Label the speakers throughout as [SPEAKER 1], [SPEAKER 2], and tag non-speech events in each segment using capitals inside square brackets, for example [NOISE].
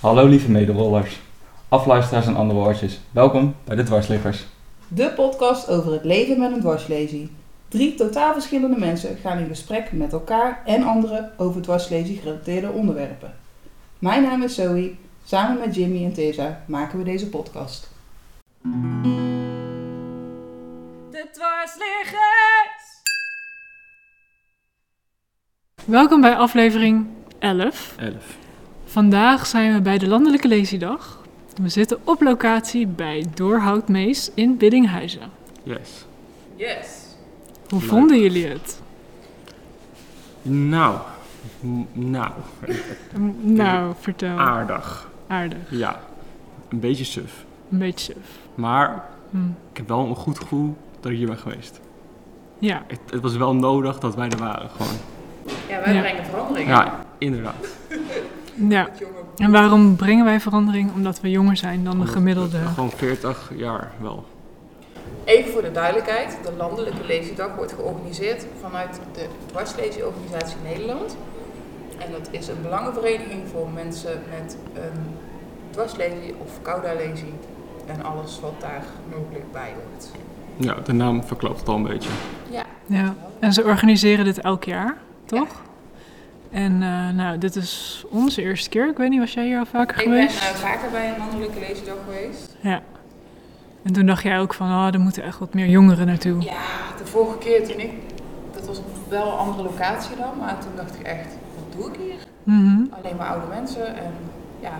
[SPEAKER 1] Hallo lieve medewollers, afluisteraars en andere woordjes. Welkom bij de Dwarsliggers.
[SPEAKER 2] De podcast over het leven met een dwarslesie. Drie totaal verschillende mensen gaan in gesprek met elkaar en anderen over dwarslesie gerelateerde onderwerpen. Mijn naam is Zoe. Samen met Jimmy en Tessa maken we deze podcast.
[SPEAKER 3] De dwarsliggers!
[SPEAKER 4] Welkom bij aflevering 11.
[SPEAKER 1] 11.
[SPEAKER 4] Vandaag zijn we bij de Landelijke Leesiedag. We zitten op locatie bij Doorhoutmees in Biddinghuizen.
[SPEAKER 5] Yes.
[SPEAKER 3] Yes.
[SPEAKER 4] Hoe
[SPEAKER 5] Leuk.
[SPEAKER 4] vonden jullie het?
[SPEAKER 5] Nou, n- nou,
[SPEAKER 4] Mm, Nou, vertel.
[SPEAKER 5] aardig.
[SPEAKER 4] Aardig.
[SPEAKER 5] Ja, een beetje suf.
[SPEAKER 4] Een beetje suf.
[SPEAKER 5] Maar
[SPEAKER 4] Hm.
[SPEAKER 5] ik heb wel een goed gevoel dat ik hier ben geweest.
[SPEAKER 4] Ja,
[SPEAKER 5] Het, het was wel nodig dat wij er waren, gewoon.
[SPEAKER 3] Ja, wij
[SPEAKER 4] Ja.
[SPEAKER 3] brengen verandering.
[SPEAKER 5] Ja, inderdaad.
[SPEAKER 4] ja. En waarom brengen wij verandering? Omdat we jonger zijn dan de gemiddelde.
[SPEAKER 5] Gewoon 40 jaar wel.
[SPEAKER 3] Even voor de duidelijkheid, de Landelijke Leesdag wordt georganiseerd vanuit de Dwarslezenorganisatie Nederland. En dat is een belangenvereniging voor mensen met een dwarslesie of caudalesie en alles wat daar mogelijk bij hoort.
[SPEAKER 5] Ja, de naam verklapt het al een beetje.
[SPEAKER 3] Ja.
[SPEAKER 4] Ja. En ze organiseren dit elk jaar, toch? En eh, nou, dit is onze eerste keer. Ik weet niet, was jij hier al vaker
[SPEAKER 3] Ik ben eh,
[SPEAKER 4] geweest?
[SPEAKER 3] vaker bij een Landelijke Leesdag geweest.
[SPEAKER 4] En toen dacht jij ook van, oh, er moeten echt wat meer jongeren naartoe.
[SPEAKER 3] Ja, de vorige keer toen ik, dat was op wel een andere locatie dan, maar toen dacht ik echt, wat doe ik hier?
[SPEAKER 4] Mhm.
[SPEAKER 3] alleen maar oude mensen. En ja,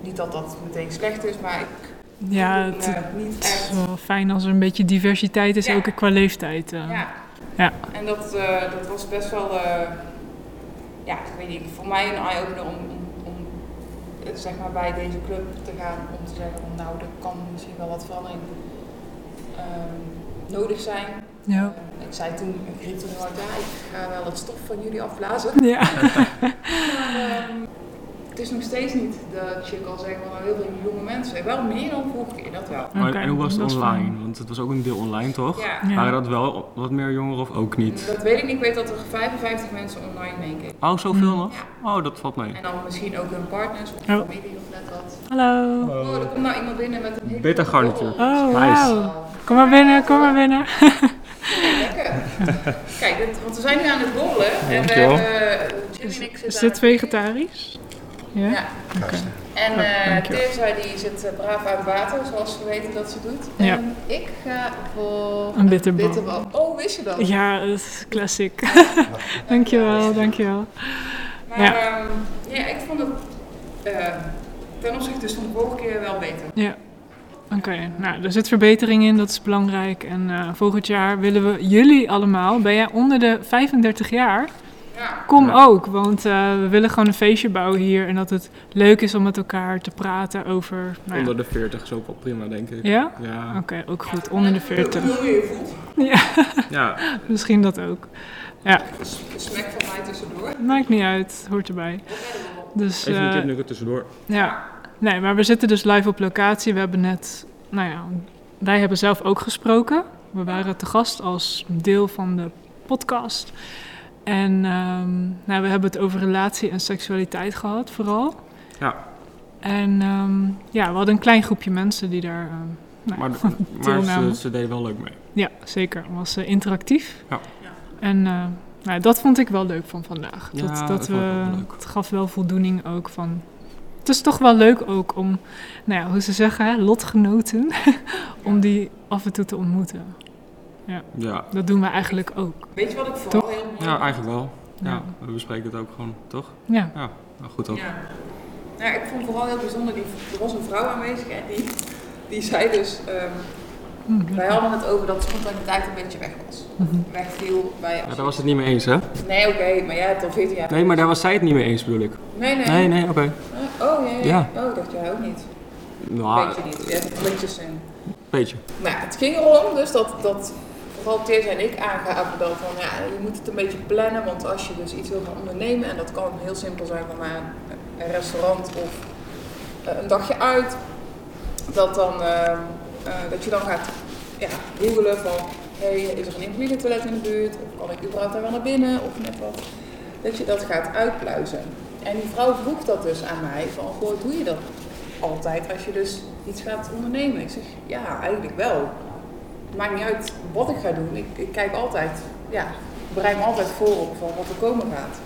[SPEAKER 3] niet dat dat meteen slecht is, maar ik
[SPEAKER 4] Ja,
[SPEAKER 3] voel
[SPEAKER 4] het,
[SPEAKER 3] me niet
[SPEAKER 4] het is
[SPEAKER 3] echt.
[SPEAKER 4] wel fijn als er een beetje diversiteit is,
[SPEAKER 3] Ja.
[SPEAKER 4] ook qua leeftijd. eh.
[SPEAKER 3] Ja.
[SPEAKER 4] Ja.
[SPEAKER 3] En dat, eh, dat was best wel, eh, ja, ik weet niet, voor mij een eye-opener om, om, om eh, zeg maar bij deze club te gaan. Om te zeggen, van, nou, er kan misschien wel wat verandering ehm, nodig zijn.
[SPEAKER 4] Ja.
[SPEAKER 3] Eh, Ik zei toen, ik riep toen heel hard, ja, ik ga wel het stof van jullie afblazen.
[SPEAKER 4] Ja. [LAUGHS]
[SPEAKER 3] Ehm, het is nog steeds niet dat je kan zeggen van nou, heel veel jonge mensen. Wel meer dan vorige keer, dat wel.
[SPEAKER 5] Maar,
[SPEAKER 4] Oké,
[SPEAKER 5] en hoe was
[SPEAKER 4] dat
[SPEAKER 5] het
[SPEAKER 4] is
[SPEAKER 5] online?
[SPEAKER 4] fijn.
[SPEAKER 5] Want het was ook een deel online, toch?
[SPEAKER 3] Ja.
[SPEAKER 4] Ja.
[SPEAKER 5] Waren dat wel wat meer jongeren of ook niet?
[SPEAKER 3] Dat weet ik niet. Ik weet dat er 55 mensen online meekeken.
[SPEAKER 5] Oh, zoveel
[SPEAKER 4] Hm.
[SPEAKER 5] nog? Oh, dat valt mee.
[SPEAKER 3] En dan misschien ook hun partners of
[SPEAKER 4] Oh.
[SPEAKER 3] familie of net wat.
[SPEAKER 4] Hallo.
[SPEAKER 3] Oh, er komt nou iemand binnen met een hele
[SPEAKER 5] Bittergarnituur.
[SPEAKER 3] borrel.
[SPEAKER 4] Oh,
[SPEAKER 5] Nice.
[SPEAKER 4] wauw. Kom maar binnen, kom maar binnen.
[SPEAKER 3] Ja, lekker. Kijk, dit- want we zijn nu aan het rollen. En we
[SPEAKER 5] Dankjewel.
[SPEAKER 3] hebben... Jimmy
[SPEAKER 4] Is,
[SPEAKER 3] en ik zitten
[SPEAKER 4] is
[SPEAKER 3] aan
[SPEAKER 4] dit
[SPEAKER 3] het-
[SPEAKER 4] vegetarisch? Ja?
[SPEAKER 3] Ja.
[SPEAKER 4] Oké.
[SPEAKER 3] En eh
[SPEAKER 4] dankjewel.
[SPEAKER 3] Tessa die zit eh, braaf uit water, zoals we weten dat ze doet.
[SPEAKER 4] Ja.
[SPEAKER 3] En ik ga voor
[SPEAKER 4] Een bitterbal.
[SPEAKER 3] Oh, wist je dat?
[SPEAKER 4] Ja, dat is classic. [LAUGHS] dankjewel, dankjewel.
[SPEAKER 3] Maar
[SPEAKER 4] Ja.
[SPEAKER 3] ja. ja, ik vond het eh, ten opzichte dus van de vorige keer wel beter.
[SPEAKER 4] Oké, nou, er zit verbetering in, dat is belangrijk. En eh, volgend jaar willen we jullie allemaal, ben jij onder de 35 jaar,
[SPEAKER 3] Ja.
[SPEAKER 4] Kom
[SPEAKER 5] Ja.
[SPEAKER 4] ook, want eh, we willen gewoon een feestje bouwen hier. En dat het leuk is om met elkaar te praten over. Nou ja.
[SPEAKER 5] Onder de 40 is ook wel prima, denk ik.
[SPEAKER 4] Ja? Oké,
[SPEAKER 5] Ja.
[SPEAKER 4] ook goed. Onder de 40.
[SPEAKER 3] Hoe je je voelt.
[SPEAKER 5] Ja.
[SPEAKER 4] [LAUGHS] Misschien dat ook.
[SPEAKER 3] Een Smack van mij tussendoor.
[SPEAKER 4] Maakt niet uit, hoort erbij. Dus
[SPEAKER 5] Even een
[SPEAKER 4] eh,
[SPEAKER 5] tip nu er tussendoor.
[SPEAKER 4] ja. Nee, maar we zitten dus live op locatie. We hebben net, nou ja, wij hebben zelf ook gesproken. We waren te gast als deel van de podcast. En ehm, nou, we hebben het over relatie en seksualiteit gehad, vooral.
[SPEAKER 5] Ja.
[SPEAKER 4] En ehm, ja, we hadden een klein groepje mensen die daar. ehm, nou, [LAUGHS]
[SPEAKER 5] Maar, maar
[SPEAKER 4] Deelname.
[SPEAKER 5] ze, ze deden wel leuk mee.
[SPEAKER 4] Ja, zeker. Het was eh, interactief.
[SPEAKER 5] Ja.
[SPEAKER 3] Ja.
[SPEAKER 4] En eh, nou, dat vond ik wel leuk van vandaag.
[SPEAKER 5] Ja,
[SPEAKER 4] dat,
[SPEAKER 5] dat
[SPEAKER 4] dat
[SPEAKER 5] vond
[SPEAKER 4] we,
[SPEAKER 5] ik ook wel leuk.
[SPEAKER 4] Het gaf wel voldoening ook van... Het is toch wel leuk ook om, nou ja, hoe ze zeggen, hè, lotgenoten, [LAUGHS] om die af en toe te ontmoeten.
[SPEAKER 5] Ja.
[SPEAKER 4] Dat doen we eigenlijk ook.
[SPEAKER 3] Weet je wat ik vooral
[SPEAKER 4] Toch?
[SPEAKER 3] heel mooi
[SPEAKER 5] Ja, eigenlijk wel.
[SPEAKER 4] Ja.
[SPEAKER 5] Ja, we bespreken het ook gewoon, toch?
[SPEAKER 4] Ja.
[SPEAKER 5] Nou, goed
[SPEAKER 3] vond?
[SPEAKER 5] ook.
[SPEAKER 3] Ja. Nou, ik vond vooral heel bijzonder, die, er was een vrouw aanwezig en die, die zei dus, ehm,
[SPEAKER 4] Hm,
[SPEAKER 3] wij hadden het over dat spontaniteit een beetje weg was.
[SPEAKER 4] Mhm.
[SPEAKER 3] Wegviel bij
[SPEAKER 5] Ja, daar was het niet mee eens, hè?
[SPEAKER 3] Nee, oké, maar jij hebt al 14 jaar.
[SPEAKER 5] Nee, maar daar was zij het niet mee eens, bedoel ik.
[SPEAKER 3] Nee, nee.
[SPEAKER 5] Nee, nee, oké.
[SPEAKER 3] Oh, nee.
[SPEAKER 5] Ja.
[SPEAKER 3] Oh, ik dacht jij ook niet.
[SPEAKER 5] Nou,
[SPEAKER 3] Weet je niet. Je hebt een beetje zin.
[SPEAKER 5] beetje.
[SPEAKER 3] Nou, het ging erom dus dat, dat vooral Teers en ik aangaven dat van ja, je moet het een beetje plannen, want als je dus iets wil gaan ondernemen, en dat kan heel simpel zijn van naar een restaurant of eh, een dagje uit, dat, dan, eh, eh, dat je dan gaat ja, googelen van hey, is er een invalide toilet in de buurt, of kan ik überhaupt daar wel naar binnen, of net wat. Dat je dat gaat uitpluizen. en die vrouw vroeg dat dus aan mij, van goh, doe je dat altijd als je dus iets gaat ondernemen? Ik zeg, ja, eigenlijk wel. Het maakt niet uit wat ik ga doen, ik, ik kijk altijd, ja, ik bereid me altijd voor op van wat er komen gaat.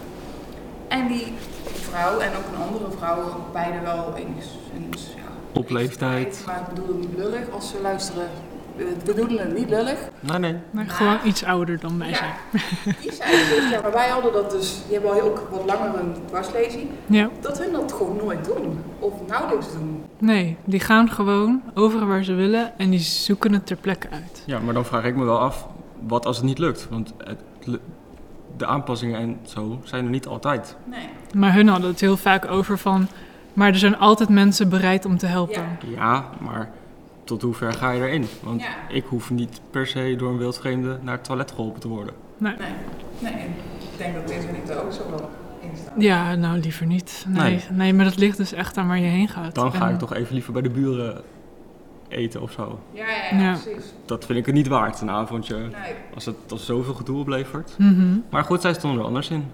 [SPEAKER 3] En die vrouw en ook een andere vrouw, beide wel eens, eens ja,
[SPEAKER 5] Op leeftijd.
[SPEAKER 3] Maar ik bedoel het niet lullig als ze luisteren. Ik bedoelen het niet lullig.
[SPEAKER 5] Nee, nee.
[SPEAKER 4] Maar
[SPEAKER 3] Maar-
[SPEAKER 4] gewoon iets ouder dan wij zijn.
[SPEAKER 3] Ja, [LAUGHS] die zijn dus, ja, maar wij hadden dat dus, die hebben al ook wat langer een dwarslezing,
[SPEAKER 4] Ja,
[SPEAKER 3] dat hun dat gewoon nooit doen. Of nauwelijks doen.
[SPEAKER 4] nee, die gaan gewoon overal waar ze willen en die zoeken het ter plekke uit.
[SPEAKER 5] Ja, maar dan vraag ik me wel af, wat als het niet lukt? Want het lu- de aanpassingen en zo zijn er niet altijd.
[SPEAKER 3] Nee.
[SPEAKER 4] Maar hun hadden het heel vaak over van, maar er zijn altijd mensen bereid om te helpen.
[SPEAKER 3] Ja.
[SPEAKER 5] Ja, maar tot hoe ver ga je erin? Want
[SPEAKER 3] Ja.
[SPEAKER 5] ik hoef niet per se door een wildvreemde naar het toilet geholpen te worden.
[SPEAKER 3] Nee. Nee. Ik denk dat deze en ik er ook zo wel in staan.
[SPEAKER 4] Ja, nou liever niet. Nee, nee.
[SPEAKER 5] Nee.
[SPEAKER 4] maar dat ligt dus echt aan waar je heen gaat.
[SPEAKER 5] Dan ga
[SPEAKER 4] En-
[SPEAKER 5] ik toch even liever bij de buren eten of zo.
[SPEAKER 3] Ja, ja, ja,
[SPEAKER 4] Ja.
[SPEAKER 3] precies.
[SPEAKER 5] Dat vind ik het niet waard, een avondje.
[SPEAKER 3] Nee.
[SPEAKER 5] Als het als zoveel gedoe oplevert.
[SPEAKER 4] Mhm,
[SPEAKER 5] Maar goed, zij stonden er anders in.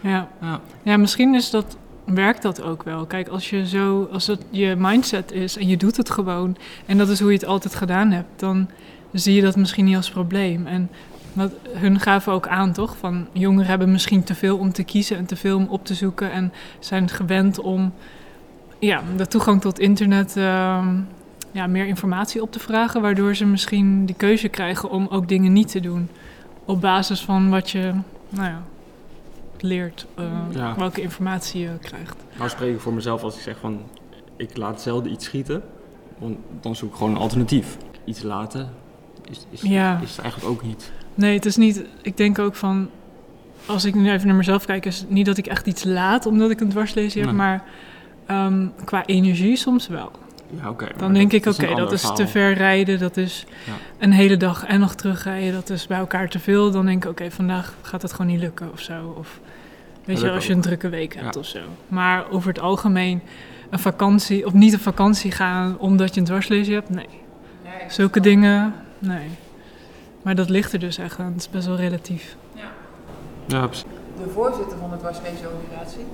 [SPEAKER 4] ja.
[SPEAKER 5] Ja.
[SPEAKER 4] ja, misschien is dat, werkt dat ook wel. Kijk, als, je zo, als het je mindset is en je doet het gewoon... en dat is hoe je het altijd gedaan hebt... dan zie je dat misschien niet als probleem. En wat, hun gaven ook aan, toch? Van jongeren hebben misschien te veel om te kiezen... en te veel om op te zoeken... en zijn gewend om ja, de toegang tot internet... ehm, ja, meer informatie op te vragen... waardoor ze misschien die keuze krijgen om ook dingen niet te doen... op basis van wat je... Nou ja, leert eh,
[SPEAKER 5] Ja.
[SPEAKER 4] welke informatie je krijgt.
[SPEAKER 5] Nou spreek ik voor mezelf als ik zeg van, ik laat zelden iets schieten. Want dan zoek ik gewoon een alternatief. Iets laten is, is,
[SPEAKER 4] Ja.
[SPEAKER 5] is het eigenlijk ook niet.
[SPEAKER 4] Nee, het is niet. Ik denk ook van. Als ik nu even naar mezelf kijk, is het niet dat ik echt iets laat omdat ik een dwarslezen heb,
[SPEAKER 5] Nee.
[SPEAKER 4] maar ehm, qua energie soms wel.
[SPEAKER 5] Ja, oké.
[SPEAKER 4] Dan denk ik, oké, dat is te ver rijden, dat is
[SPEAKER 5] Ja.
[SPEAKER 4] een hele dag en nog terugrijden, dat is bij elkaar te veel. Dan denk ik, oké, vandaag gaat het gewoon niet lukken of zo. Of weet je,
[SPEAKER 5] dat
[SPEAKER 4] als je
[SPEAKER 5] ook.
[SPEAKER 4] een drukke week hebt
[SPEAKER 5] Ja.
[SPEAKER 4] of zo. Maar over het algemeen, een vakantie, of niet op vakantie gaan omdat je een dwarslezen hebt, nee.
[SPEAKER 3] Nee, ik
[SPEAKER 4] Zulke
[SPEAKER 3] snap.
[SPEAKER 4] dingen, nee. Maar dat ligt er dus echt aan. Het is best wel relatief.
[SPEAKER 3] Ja.
[SPEAKER 5] Ja, precies.
[SPEAKER 3] de voorzitter van de dwarsleesorganisatie,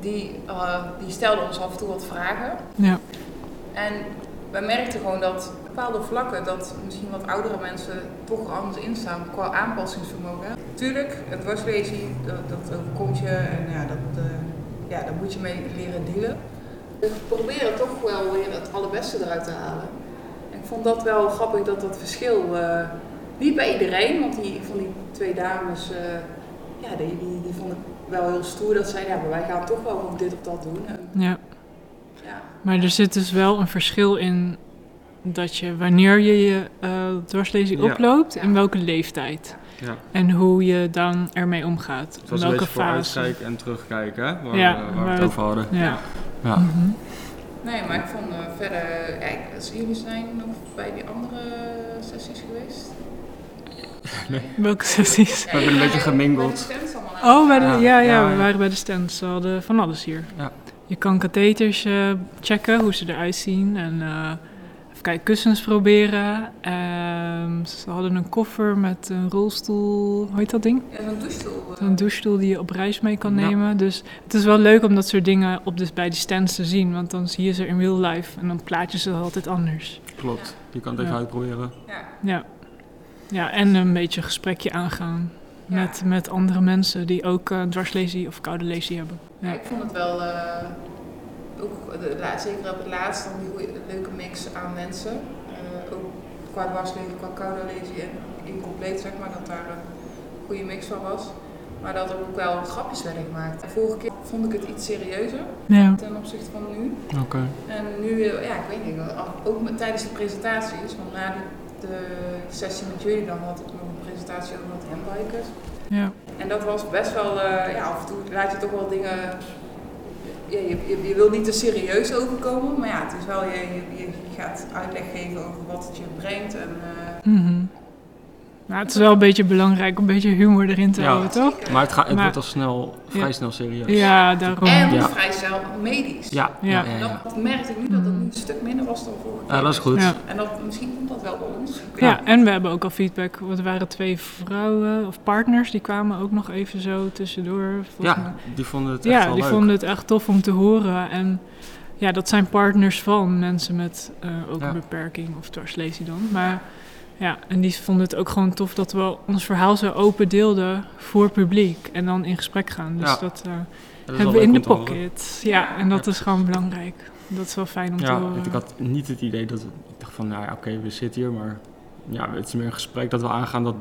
[SPEAKER 3] die, eh, die stelde ons af en toe wat vragen.
[SPEAKER 4] Ja.
[SPEAKER 3] En we merkten gewoon dat op bepaalde vlakken dat misschien wat oudere mensen toch er anders in staan qua aanpassingsvermogen. Tuurlijk, het dwarslesie, dat, dat overkomt je en ja, dat, eh, ja, daar moet je mee leren dealen. We proberen toch wel weer het allerbeste eruit te halen. En ik vond dat wel grappig dat dat verschil, eh, niet bij iedereen, want die, van die twee dames, eh, ja, die, die, die vond ik wel heel stoer dat zij, ja, maar wij gaan toch wel dit of dat doen. En,
[SPEAKER 4] ja.
[SPEAKER 3] ja.
[SPEAKER 4] Maar er zit dus wel een verschil in dat je wanneer je je eh, dwarslezing
[SPEAKER 5] Ja.
[SPEAKER 4] oploopt,
[SPEAKER 3] Ja.
[SPEAKER 4] in welke leeftijd.
[SPEAKER 5] Ja.
[SPEAKER 4] En hoe je dan ermee omgaat.
[SPEAKER 5] Het
[SPEAKER 4] In
[SPEAKER 5] was een
[SPEAKER 4] welke
[SPEAKER 5] beetje
[SPEAKER 4] fase.
[SPEAKER 5] vooruitkijken en terugkijken, hè? Waar,
[SPEAKER 4] Ja,
[SPEAKER 5] eh, waar
[SPEAKER 4] waar
[SPEAKER 5] we het
[SPEAKER 4] het-
[SPEAKER 5] over hadden.
[SPEAKER 4] Ja.
[SPEAKER 5] Ja.
[SPEAKER 4] Mhm.
[SPEAKER 3] Nee, maar ik vond eh, verder. Ja, ik- als jullie zijn nog bij die andere eh, sessies geweest?
[SPEAKER 4] Welke [LAUGHS] sessies?
[SPEAKER 3] We
[SPEAKER 5] hebben een beetje gemingeld.
[SPEAKER 4] Oh, bij de, ja,
[SPEAKER 5] Ja,
[SPEAKER 4] ja,
[SPEAKER 5] ja,
[SPEAKER 4] we
[SPEAKER 5] ja.
[SPEAKER 4] waren bij de stands. Ze hadden van alles hier.
[SPEAKER 5] Ja.
[SPEAKER 4] Je kan katheters eh, checken, hoe ze eruit zien. En eh, even kijken, kussens proberen. Ehm, ze hadden een koffer met een rolstoel, hoe heet dat ding?
[SPEAKER 3] En een douchestoel. eh.
[SPEAKER 4] Een douchestoel die je op reis mee kan
[SPEAKER 5] Ja.
[SPEAKER 4] nemen. Dus het is wel leuk om dat soort dingen op de, bij die stands te zien. Want dan zie je ze in real life en dan plaat je ze altijd anders.
[SPEAKER 5] Klopt. Je kan het even
[SPEAKER 4] Ja.
[SPEAKER 5] uitproberen.
[SPEAKER 3] Ja.
[SPEAKER 4] Ja, ja en een beetje een gesprekje aangaan.
[SPEAKER 3] Ja.
[SPEAKER 4] Met, met andere mensen die ook eh dwarslesie of koude lesie hebben.
[SPEAKER 3] Ja,
[SPEAKER 4] Ja.
[SPEAKER 3] ik vond het wel. eh, ook de, la- zeker op het laatst dan die goeie- leuke mix aan mensen. Eh, ook qua dwarslezen, qua koude lezen en incompleet zeg maar, dat daar een goede mix van was. Maar dat er ook wel grapjes werden gemaakt. De vorige keer vond ik het iets serieuzer
[SPEAKER 4] Ja.
[SPEAKER 3] ten opzichte van nu.
[SPEAKER 5] Oké.
[SPEAKER 3] En nu, eh, ja, ik weet niet, al- ook met, tijdens de presentaties, want na de, de sessie met jullie dan had ik nog een presentatie over wat handbikers.
[SPEAKER 4] ja.
[SPEAKER 3] En dat was best wel, eh, ja, af en toe laat je toch wel dingen, ja, je, je, je wil niet te serieus overkomen, maar ja, het is wel, je, je, je gaat uitleg geven over wat het je brengt en eh,
[SPEAKER 4] Mhm. Nou, het is wel een beetje belangrijk om een beetje humor erin te
[SPEAKER 5] Ja.
[SPEAKER 4] houden, toch?
[SPEAKER 5] Maar het, gaat, het
[SPEAKER 4] Maar-
[SPEAKER 5] wordt al snel, vrij snel serieus.
[SPEAKER 4] Ja, daarom.
[SPEAKER 3] En
[SPEAKER 5] Ja.
[SPEAKER 3] vrij snel medisch.
[SPEAKER 5] Ja,
[SPEAKER 4] Ja.
[SPEAKER 5] ja, ja,
[SPEAKER 3] Dat,
[SPEAKER 5] ja.
[SPEAKER 3] dat merkte ik nu dat dat nu een stuk minder was dan vorige keer.
[SPEAKER 5] Ja, dat is goed.
[SPEAKER 4] Ja.
[SPEAKER 3] En dat, misschien komt dat wel bij ons. Ik
[SPEAKER 4] Ja,
[SPEAKER 3] weet
[SPEAKER 4] en we hebben ook al feedback. Want er waren twee vrouwen of partners die kwamen ook nog even zo tussendoor. volgens mij.
[SPEAKER 5] Ja, die vonden het echt
[SPEAKER 4] ja
[SPEAKER 5] wel
[SPEAKER 4] die
[SPEAKER 5] leuk.
[SPEAKER 4] vonden het echt tof om te horen. En ja, dat zijn partners van mensen met eh, ook
[SPEAKER 5] Ja.
[SPEAKER 4] een beperking of dwarslesie dan. Maar ja, en die vonden het ook gewoon tof dat we ons verhaal zo open deelden voor publiek. En dan in gesprek gaan. Dus
[SPEAKER 5] Ja.
[SPEAKER 4] dat eh,
[SPEAKER 5] Dat is wel
[SPEAKER 4] hebben we
[SPEAKER 5] leuk
[SPEAKER 4] in de
[SPEAKER 5] om te horen.
[SPEAKER 4] pocket. Ja, en dat is gewoon belangrijk. Dat is wel fijn om te
[SPEAKER 5] Ja,
[SPEAKER 4] horen.
[SPEAKER 5] want ik had niet het idee dat... we- Ik dacht van, nou ja, oké, we zitten hier, maar... Ja, het is meer een gesprek dat we aangaan dat,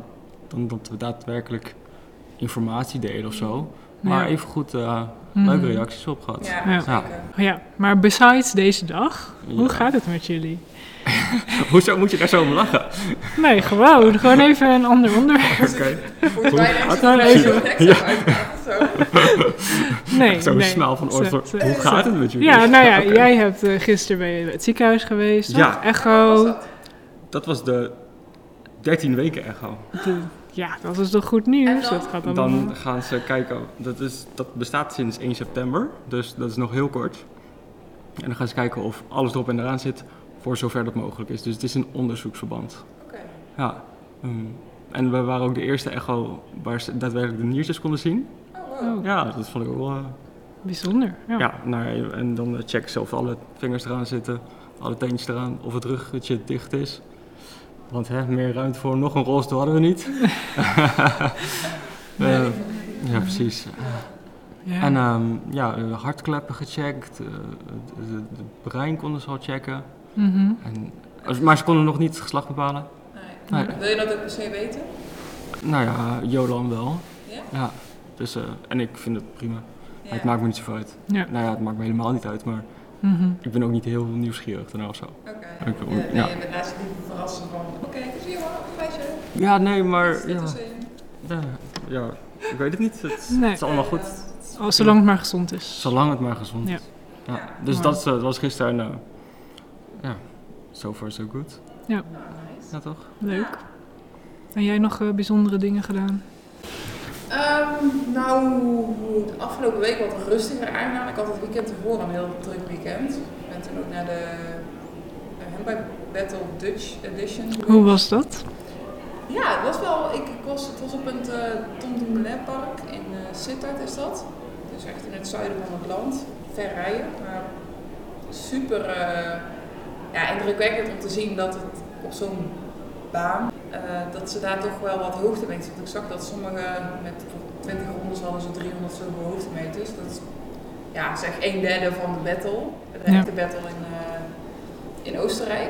[SPEAKER 5] dan dat we daadwerkelijk informatie delen of zo. Maar
[SPEAKER 4] Ja.
[SPEAKER 5] evengoed eh
[SPEAKER 4] Mhm.
[SPEAKER 5] leuke reacties op gehad.
[SPEAKER 3] Ja,
[SPEAKER 4] Ja.
[SPEAKER 3] zeker.
[SPEAKER 4] Oh Ja, maar besides deze dag, hoe
[SPEAKER 5] Ja.
[SPEAKER 4] gaat het met jullie?
[SPEAKER 5] Hoezo moet je daar zo om
[SPEAKER 4] [LAUGHS]
[SPEAKER 5] lachen?
[SPEAKER 4] Nee, gewoon. Gewoon even een ander
[SPEAKER 5] [LAUGHS]
[SPEAKER 4] onderwerp.
[SPEAKER 5] Oké,
[SPEAKER 3] Volgens mij lijkt het
[SPEAKER 4] Daar
[SPEAKER 3] een beetje
[SPEAKER 4] even.
[SPEAKER 3] een extra uitdaging, zo.
[SPEAKER 4] Nee,
[SPEAKER 5] zo'n
[SPEAKER 4] nee.
[SPEAKER 5] smaal van oor.
[SPEAKER 4] Ze-
[SPEAKER 5] voor-
[SPEAKER 4] ze-
[SPEAKER 5] Hoe gaat het met jullie? [LAUGHS]
[SPEAKER 4] Ja, nou ja,
[SPEAKER 5] Oké.
[SPEAKER 4] jij hebt eh, gisteren bij het ziekenhuis geweest. toch?
[SPEAKER 5] Ja.
[SPEAKER 3] Wat was
[SPEAKER 4] Echo.
[SPEAKER 3] dat?
[SPEAKER 5] Dat was de 13 weken echo.
[SPEAKER 4] De- ja, dat is toch goed
[SPEAKER 3] En
[SPEAKER 4] nieuws?
[SPEAKER 3] dan?
[SPEAKER 4] Dat gaat allemaal.
[SPEAKER 5] Dan gaan ze kijken, dat, is, dat bestaat sinds 1 september, dus dat is nog heel kort. En dan gaan ze kijken of alles erop en eraan zit, voor zover dat mogelijk is. Dus het is een onderzoeksverband.
[SPEAKER 3] Oké.
[SPEAKER 5] Ja. ehm, en we waren ook de eerste echo waar ze daadwerkelijk de niertjes konden zien.
[SPEAKER 3] Oh, wow.
[SPEAKER 4] Oh,
[SPEAKER 5] Ja, dat vond ik wel... eh,
[SPEAKER 4] bijzonder. Ja.
[SPEAKER 5] ja, nou, en dan checken ze of alle vingers eraan zitten, alle teentjes eraan, of het ruggetje dicht is. Want hè, meer ruimte voor nog een rolstoel hadden we niet. [LAUGHS] Eh, ja, precies.
[SPEAKER 4] Ja.
[SPEAKER 5] En ehm, ja, eh, hartkleppen gecheckt, eh, het- het- het brein konden ze al checken.
[SPEAKER 4] Mhm.
[SPEAKER 5] En, als- maar ze konden nog niet het geslacht bepalen.
[SPEAKER 3] Nee.
[SPEAKER 5] Nee.
[SPEAKER 3] Wil je dat ook per se weten?
[SPEAKER 5] Nou ja, Jolan wel.
[SPEAKER 3] Ja?
[SPEAKER 5] Ja, dus, eh, en ik vind het prima.
[SPEAKER 3] Ja.
[SPEAKER 5] Het maakt me niet zoveel uit.
[SPEAKER 4] Ja.
[SPEAKER 5] Nou ja, het maakt me helemaal niet uit, maar
[SPEAKER 4] Mhm.
[SPEAKER 5] ik ben ook niet heel nieuwsgierig daarna of zo.
[SPEAKER 3] Oké.
[SPEAKER 5] Ik-
[SPEAKER 3] Ja, nee,
[SPEAKER 5] ja.
[SPEAKER 3] je bent naast je niet verrassen van, oké, zie je wel, meisje.
[SPEAKER 5] Ja, nee,
[SPEAKER 3] Dit dus-
[SPEAKER 5] maar...
[SPEAKER 3] is
[SPEAKER 5] Ja,
[SPEAKER 3] een-
[SPEAKER 5] ja, ja, ik weet het niet. Het,
[SPEAKER 4] Nee.
[SPEAKER 5] het is allemaal goed.
[SPEAKER 3] Ja, dat is-
[SPEAKER 4] Oh, zolang het maar gezond is.
[SPEAKER 5] Zolang het maar gezond is. Ja. dus
[SPEAKER 4] Mooi.
[SPEAKER 5] dat, is, eh, dat was gisteren... eh, ja, so far so good.
[SPEAKER 4] Ja.
[SPEAKER 3] nou, Nice.
[SPEAKER 5] Ja, toch?
[SPEAKER 4] Leuk. En jij nog eh, bijzondere dingen gedaan?
[SPEAKER 3] Ehm, nou, de afgelopen week wat rustiger aangedaan. Ik had het weekend ervoor een heel druk weekend. Ik ben toen ook naar de eh, Handbike Battle Dutch Edition. geweest.
[SPEAKER 4] Hoe was dat?
[SPEAKER 3] Ja, het was wel. Ik, ik was, het was op het eh Tom Dumoulin Park in eh Sittard is dat. Dus echt in het zuiden van het land. Ver rijden. Maar super eh, ja, indrukwekkend om te zien dat het op zo'n baan, eh, dat ze daar toch wel wat hoogtemeters. Want ik zag dat sommigen met bijvoorbeeld 20 rondes hadden ze 300 zoveel hoogtemeters. Dat is ja, zeg een derde van de battle. De
[SPEAKER 4] Ja.
[SPEAKER 3] echte battle in, eh, in Oostenrijk.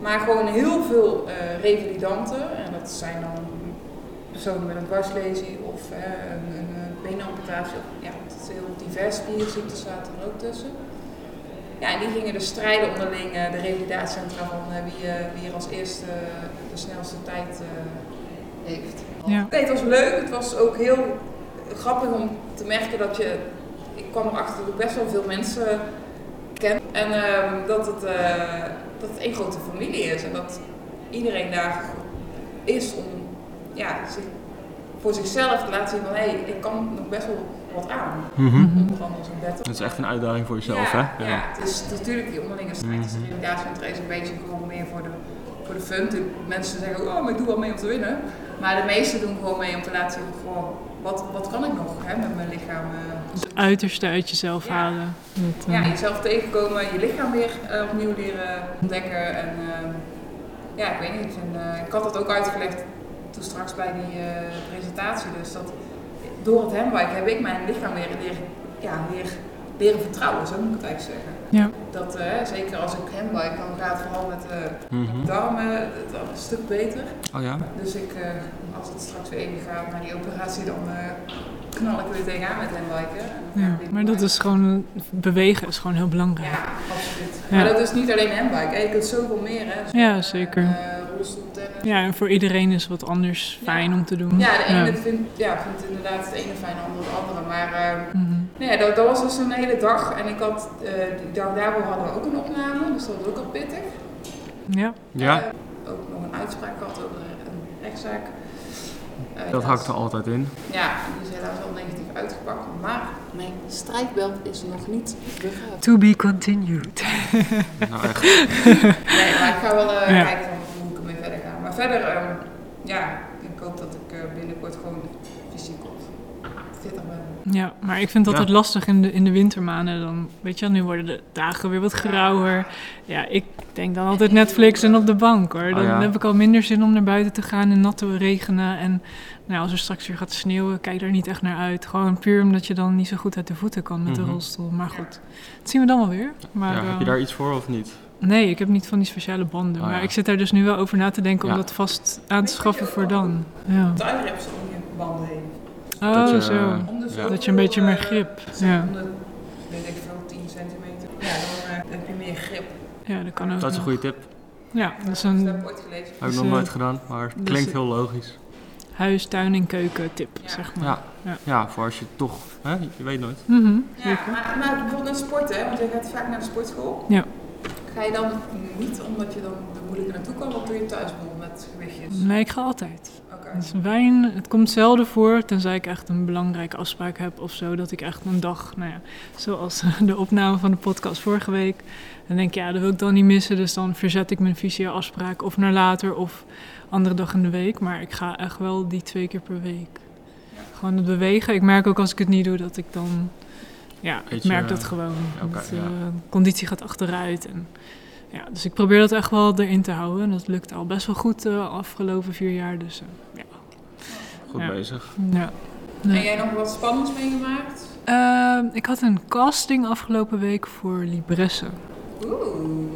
[SPEAKER 3] Maar gewoon heel veel eh, revalidanten. En dat zijn dan personen met een dwarslesie of eh, een, een eh, beenamputatie. Ja, het is heel divers. Spierziektes zaten er ook tussen. Ja, en die gingen dus strijden onderling eh, de revalidatiecentra van eh, wie, eh, wie er als eerste eh, de snelste tijd eh, heeft.
[SPEAKER 4] Ja.
[SPEAKER 3] Nee, het was leuk. Het was ook heel grappig om te merken dat je... Ik kwam erachter dat ik best wel veel mensen ken. En ehm, dat, het, eh, dat het één grote familie is. En dat iedereen daar is om ja, zich, voor zichzelf te laten zien van... Hé, ik kan nog best wel wat aan.
[SPEAKER 5] Hm? Mhm.
[SPEAKER 4] Mhm.
[SPEAKER 3] Onder andere zo'n battle.
[SPEAKER 5] Dat is echt een uitdaging voor jezelf,
[SPEAKER 3] ja,
[SPEAKER 5] hè? Mhm.
[SPEAKER 3] Ja, het is natuurlijk die onderlinge strijd. Dus de revalidatiecentra is een beetje gewoon meer voor de, voor de fun. De mensen zeggen, oh, maar ik doe wel mee om te winnen. Maar de meesten doen gewoon mee om te laten zien, gewoon, wat, wat kan ik nog hè, met mijn lichaam? eh.
[SPEAKER 4] Het Dus uiterste uit jezelf
[SPEAKER 3] Ja.
[SPEAKER 4] halen. Dat, eh,
[SPEAKER 3] ja, jezelf tegenkomen, je lichaam weer eh, opnieuw leren ontdekken. En eh, ja, ik weet niet. En, eh, ik had dat ook uitgelegd toen straks bij die eh, presentatie. Dus dat door het handbike heb ik mijn lichaam weer leren, ja, weer, leren vertrouwen, zo moet ik het eigenlijk zeggen.
[SPEAKER 4] ja.
[SPEAKER 3] Dat, eh, zeker als ik handbike, dan gaat het vooral met de
[SPEAKER 4] Hm.
[SPEAKER 5] Mhm.
[SPEAKER 3] darmen het al een stuk beter.
[SPEAKER 5] Oh ja?
[SPEAKER 3] Dus ik, eh, als het straks weer even gaat naar die operatie, dan eh, knal ik weer tegenaan met handbiken. En dan ga ik
[SPEAKER 4] Ja.
[SPEAKER 3] weer
[SPEAKER 4] Maar dat
[SPEAKER 3] door.
[SPEAKER 4] is gewoon, bewegen is gewoon heel belangrijk.
[SPEAKER 3] Ja, absoluut.
[SPEAKER 4] Ja.
[SPEAKER 3] Maar dat is niet alleen handbike, hè. je kunt zoveel meer. Hè. Dus,
[SPEAKER 4] Ja,
[SPEAKER 3] eh,
[SPEAKER 4] zeker.
[SPEAKER 3] eh, rolstoeltennis.
[SPEAKER 4] Ja, en voor iedereen is wat anders fijn om te doen.
[SPEAKER 3] Ja, de ene Vindt, ja, vindt inderdaad het ene fijn, de andere het andere. Maar eh,
[SPEAKER 4] Mhm.
[SPEAKER 3] Nou ja, dat, dat was dus een hele dag. En ik had, eh, die dag daarvoor hadden we ook een opname, dus dat was ook al pittig.
[SPEAKER 4] Ja.
[SPEAKER 5] Ja?
[SPEAKER 3] Eh, ook nog een uitspraak gehad over een rechtszaak. Eh,
[SPEAKER 5] Dat hakt er altijd in.
[SPEAKER 3] Ja, die is helaas al negatief uitgepakt. Maar mijn strijkbelt is nog niet begraven.
[SPEAKER 4] To be continued.
[SPEAKER 5] Nou echt,
[SPEAKER 3] Nee, maar ik ga wel eh,
[SPEAKER 4] Ja.
[SPEAKER 3] kijken van hoe ik ermee verder ga. Maar verder, ehm, ja, ik hoop dat ik eh, binnenkort gewoon fysiek op fitter ben.
[SPEAKER 4] Ja, maar ik vind dat
[SPEAKER 5] Ja.
[SPEAKER 4] het lastig in de, in de wintermaanden. Dan, weet je, wel, nu worden de dagen weer wat grauwer. Ja, ik denk dan altijd Netflix en op de bank hoor. Dan
[SPEAKER 5] Oh ja.
[SPEAKER 4] heb ik al minder zin om naar buiten te gaan en nat te regenen. En nou, als er straks weer gaat sneeuwen, kijk daar niet echt naar uit. Gewoon puur omdat je dan niet zo goed uit de voeten kan met
[SPEAKER 5] Mhm.
[SPEAKER 4] de rolstoel. Maar goed, dat zien we dan wel weer. Maar,
[SPEAKER 5] ja, heb je
[SPEAKER 4] eh,
[SPEAKER 5] daar iets voor of niet?
[SPEAKER 4] Nee, ik heb niet van die speciale banden.
[SPEAKER 5] Oh,
[SPEAKER 4] maar
[SPEAKER 5] ja.
[SPEAKER 4] ik zit daar dus nu wel over na te denken om
[SPEAKER 5] Ja.
[SPEAKER 4] dat vast aan te schaffen voor dan. Ja.
[SPEAKER 3] Tuinrips om je banden heen.
[SPEAKER 4] Oh,
[SPEAKER 5] je-
[SPEAKER 4] zo.
[SPEAKER 3] Om de
[SPEAKER 5] Ja.
[SPEAKER 3] zoveel,
[SPEAKER 4] Dat je een beetje meer
[SPEAKER 3] eh,
[SPEAKER 4] grip.
[SPEAKER 3] zeg,
[SPEAKER 4] Ja,
[SPEAKER 3] om de, weet ik veel, 10 centimeter. Ja, dan eh, heb je meer grip.
[SPEAKER 4] ja dat kan ook.
[SPEAKER 5] Dat is een
[SPEAKER 4] nog.
[SPEAKER 5] goede tip.
[SPEAKER 4] Ja, dat is
[SPEAKER 3] Ik
[SPEAKER 4] een
[SPEAKER 3] heb ooit gelezen.
[SPEAKER 5] Heb ik
[SPEAKER 4] Dus,
[SPEAKER 5] nog
[SPEAKER 4] eh,
[SPEAKER 5] nooit gedaan, maar het
[SPEAKER 4] dus-
[SPEAKER 5] klinkt heel logisch.
[SPEAKER 4] huis, tuin en keuken tip,
[SPEAKER 3] Ja.
[SPEAKER 4] zeg maar.
[SPEAKER 5] Ja,
[SPEAKER 4] Ja.
[SPEAKER 5] ja, voor als je toch, hè, je weet nooit.
[SPEAKER 4] Mhm,
[SPEAKER 3] Ja,
[SPEAKER 4] zeker.
[SPEAKER 3] maar, maar bijvoorbeeld naar sport, hè? Want je gaat vaak naar de sportschool.
[SPEAKER 4] Ja.
[SPEAKER 3] Ga je dan niet omdat je dan de moeilijke naartoe kan, wat doe je thuis bijvoorbeeld met gewichtjes?
[SPEAKER 4] Nee, ik ga altijd.
[SPEAKER 3] Oké.
[SPEAKER 4] Dus wijn, het komt zelden voor, tenzij ik echt een belangrijke afspraak heb of zo. Dat ik echt een dag, nou ja, zoals [LAUGHS] de opname van de podcast vorige week. Dan denk ik, ja, dat wil ik dan niet missen. Dus dan verzet ik mijn visio-afspraak of naar later of andere dag in de week. Maar ik ga echt wel die twee keer per week. Gewoon het bewegen. Ik merk ook als ik het niet doe, dat ik dan... Ja, ik
[SPEAKER 5] Beetje,
[SPEAKER 4] merk
[SPEAKER 5] eh,
[SPEAKER 4] dat gewoon.
[SPEAKER 5] oké,
[SPEAKER 4] dat,
[SPEAKER 5] ja.
[SPEAKER 4] eh, Conditie gaat achteruit en... Ja, dus ik probeer dat echt wel erin te houden. En dat lukt al best wel goed de afgelopen vier jaar. Dus eh,
[SPEAKER 5] Goed
[SPEAKER 4] Ja.
[SPEAKER 5] bezig.
[SPEAKER 4] ja.
[SPEAKER 3] En jij nog wat spannends meegemaakt?
[SPEAKER 4] Ehm, ik had een casting afgelopen week voor Libresse.
[SPEAKER 3] Oeh.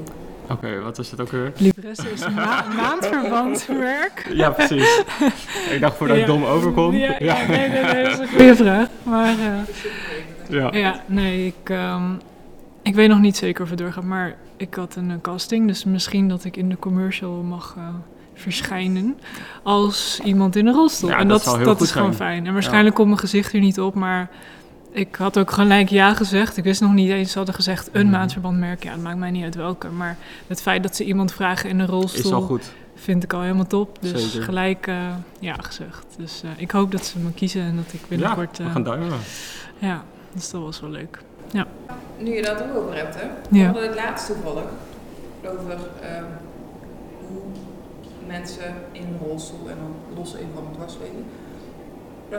[SPEAKER 5] Oké, wat is dat ook weer?
[SPEAKER 4] Libresse is een ma- maandverband werk.
[SPEAKER 5] Ja, precies. [LAUGHS] ik dacht voordat ik
[SPEAKER 4] Ja.
[SPEAKER 5] dom overkom.
[SPEAKER 4] Ja, ja, nee, nee, nee, dat is een goede vraag. Maar eh,
[SPEAKER 5] Ja.
[SPEAKER 4] ja, nee, ik, ehm, ik weet nog niet zeker of het doorgaat. Maar ik had een eh, casting, dus misschien dat ik in de commercial mag eh, verschijnen als iemand in een rolstoel.
[SPEAKER 5] Ja,
[SPEAKER 4] en
[SPEAKER 5] dat
[SPEAKER 4] dat,
[SPEAKER 5] zou heel
[SPEAKER 4] dat
[SPEAKER 5] goed
[SPEAKER 4] is gewoon
[SPEAKER 5] zijn.
[SPEAKER 4] fijn. En waarschijnlijk komt mijn gezicht er niet op, maar ik had ook gelijk ja gezegd. Ik wist nog niet eens, ze hadden gezegd een
[SPEAKER 5] Mhm.
[SPEAKER 4] maandverbandmerk. Ja, het maakt mij niet uit welke. Maar het feit dat ze iemand vragen in een rolstoel
[SPEAKER 5] Is al goed.
[SPEAKER 4] vind ik al helemaal top. Dus
[SPEAKER 5] Zeker.
[SPEAKER 4] gelijk eh, ja gezegd. Dus eh, ik hoop dat ze me kiezen en dat ik binnenkort... eh.
[SPEAKER 5] ja,
[SPEAKER 4] Ja,
[SPEAKER 5] we gaan duimen.
[SPEAKER 4] ja dus dat was wel leuk.
[SPEAKER 3] Nu je dat ook over hebt, hè?
[SPEAKER 4] Ja.
[SPEAKER 3] We hadden het laatste toevallig over ehm, hoe mensen in een rolstoel en dan los in van het dwarsleven. eh,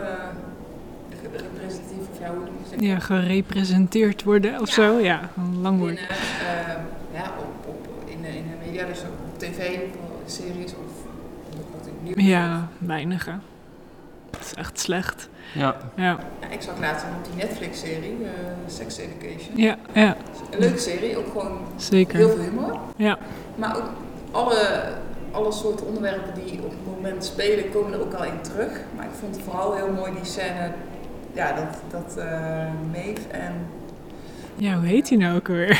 [SPEAKER 3] re- representatief of ja, hoe noem je het?
[SPEAKER 4] Ja, gerepresenteerd worden of
[SPEAKER 3] Ja.
[SPEAKER 4] zo. Ja, een lang woord.
[SPEAKER 3] binnen, eh, ja, op, op, in, de, in de media, dus op tv, op series of wat ik nu.
[SPEAKER 4] Ja, weinig hè. Het is echt slecht.
[SPEAKER 5] Ja,
[SPEAKER 4] Ja,
[SPEAKER 3] Ja, ik zag laatst nog die Netflix-serie, eh, Sex Education.
[SPEAKER 4] ja, ja
[SPEAKER 3] Een leuke serie, ook gewoon heel
[SPEAKER 4] zeker.
[SPEAKER 3] veel humor.
[SPEAKER 4] Ja.
[SPEAKER 3] Maar ook alle, alle soorten onderwerpen die op het moment spelen, komen er ook al in terug. Maar ik vond vooral heel mooi die scène, ja, dat, dat eh Maeve en
[SPEAKER 4] Ja, hoe heet hij nou ook weer?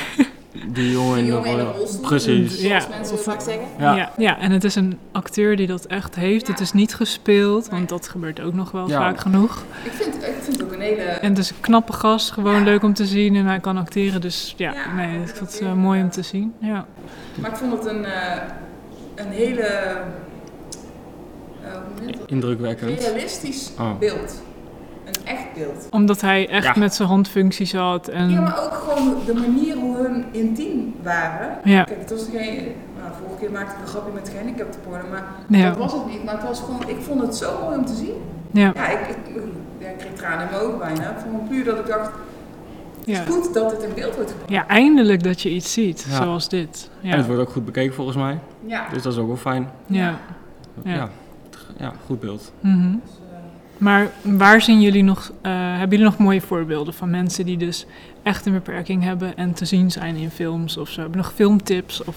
[SPEAKER 5] die jongen in
[SPEAKER 3] die
[SPEAKER 5] de
[SPEAKER 3] jongen in de
[SPEAKER 5] rol-
[SPEAKER 3] rolstoel,
[SPEAKER 5] Precies.
[SPEAKER 4] Ja.
[SPEAKER 3] zoals mensen het vaak zeggen.
[SPEAKER 5] Ja.
[SPEAKER 4] Ja. ja, en het is een acteur die dat echt heeft. Het is niet gespeeld, want dat gebeurt ook nog wel
[SPEAKER 5] Ja.
[SPEAKER 4] vaak genoeg.
[SPEAKER 3] Ik vind, ik vind het ook een hele...
[SPEAKER 4] En het is een knappe gast, gewoon
[SPEAKER 3] Ja.
[SPEAKER 4] leuk om te zien. En hij kan acteren, dus ja,
[SPEAKER 3] Ja,
[SPEAKER 4] nee,
[SPEAKER 3] dat
[SPEAKER 4] ik vond het
[SPEAKER 3] is
[SPEAKER 4] eh, mooi om te zien. Ja,
[SPEAKER 3] Maar ik vond het een, eh, een hele eh, hoe noem je dat?
[SPEAKER 5] Indrukwekkend.
[SPEAKER 3] realistisch
[SPEAKER 5] Oh.
[SPEAKER 3] beeld. Een echt beeld.
[SPEAKER 4] omdat hij echt
[SPEAKER 5] Ja.
[SPEAKER 4] met zijn handfuncties had. En,
[SPEAKER 3] Ja, maar ook gewoon de manier hoe hun intiem waren.
[SPEAKER 4] ja,
[SPEAKER 3] Kijk, het was geen. Nou, vorige keer maakte ik een grapje met gehandicapte porno, maar dat
[SPEAKER 4] ja,
[SPEAKER 3] was het niet. Maar het was gewoon, ik vond het zo mooi om te zien.
[SPEAKER 4] ja,
[SPEAKER 3] Ja, ik, ik, ja, ik kreeg tranen in mijn ogen bijna. Gewoon puur dat ik dacht, het is
[SPEAKER 4] ja.
[SPEAKER 3] goed dat het in beeld wordt gebracht.
[SPEAKER 4] Ja, eindelijk dat je iets ziet,
[SPEAKER 5] Ja.
[SPEAKER 4] zoals dit.
[SPEAKER 5] En het
[SPEAKER 4] Ja,
[SPEAKER 5] wordt ook goed bekeken volgens mij.
[SPEAKER 3] Ja.
[SPEAKER 5] Dus dat is ook wel fijn.
[SPEAKER 4] ja. Ja.
[SPEAKER 5] Ja, ja. goed beeld.
[SPEAKER 4] mhm.
[SPEAKER 3] Dus, eh,
[SPEAKER 4] Maar waar zien jullie nog, eh, hebben jullie nog mooie voorbeelden van mensen die dus echt een beperking hebben en te zien zijn in films of zo? Hebben nog filmtips of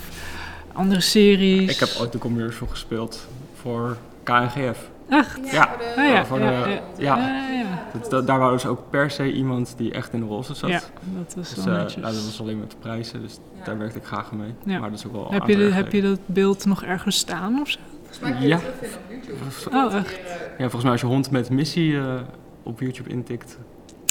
[SPEAKER 4] andere series?
[SPEAKER 5] Ik heb ooit de commercial gespeeld voor KNGF.
[SPEAKER 4] Echt?
[SPEAKER 5] Ja.
[SPEAKER 3] voor de-
[SPEAKER 4] Oh ja,
[SPEAKER 5] Voor de-
[SPEAKER 4] ja, ja.
[SPEAKER 5] ja.
[SPEAKER 4] Ja, ja.
[SPEAKER 5] Dat, dat- daar waren ze ook per se iemand die echt in de rolstoel zat.
[SPEAKER 4] Ja, dat is
[SPEAKER 5] Dus,
[SPEAKER 4] wel
[SPEAKER 5] eh,
[SPEAKER 4] netjes.
[SPEAKER 5] nou, dat was alleen met de prijzen, dus
[SPEAKER 3] Ja.
[SPEAKER 5] daar werkte ik graag mee.
[SPEAKER 4] Ja.
[SPEAKER 5] Maar dat is ook wel
[SPEAKER 4] heb, je, de- heb je dat beeld nog ergens staan of zo?
[SPEAKER 3] Volgens mij kun je
[SPEAKER 5] Ja.
[SPEAKER 3] het terugvinden op YouTube.
[SPEAKER 4] Oh, echt?
[SPEAKER 3] Hier, eh,
[SPEAKER 5] Ja, volgens mij als je hond met missie eh, op YouTube intikt,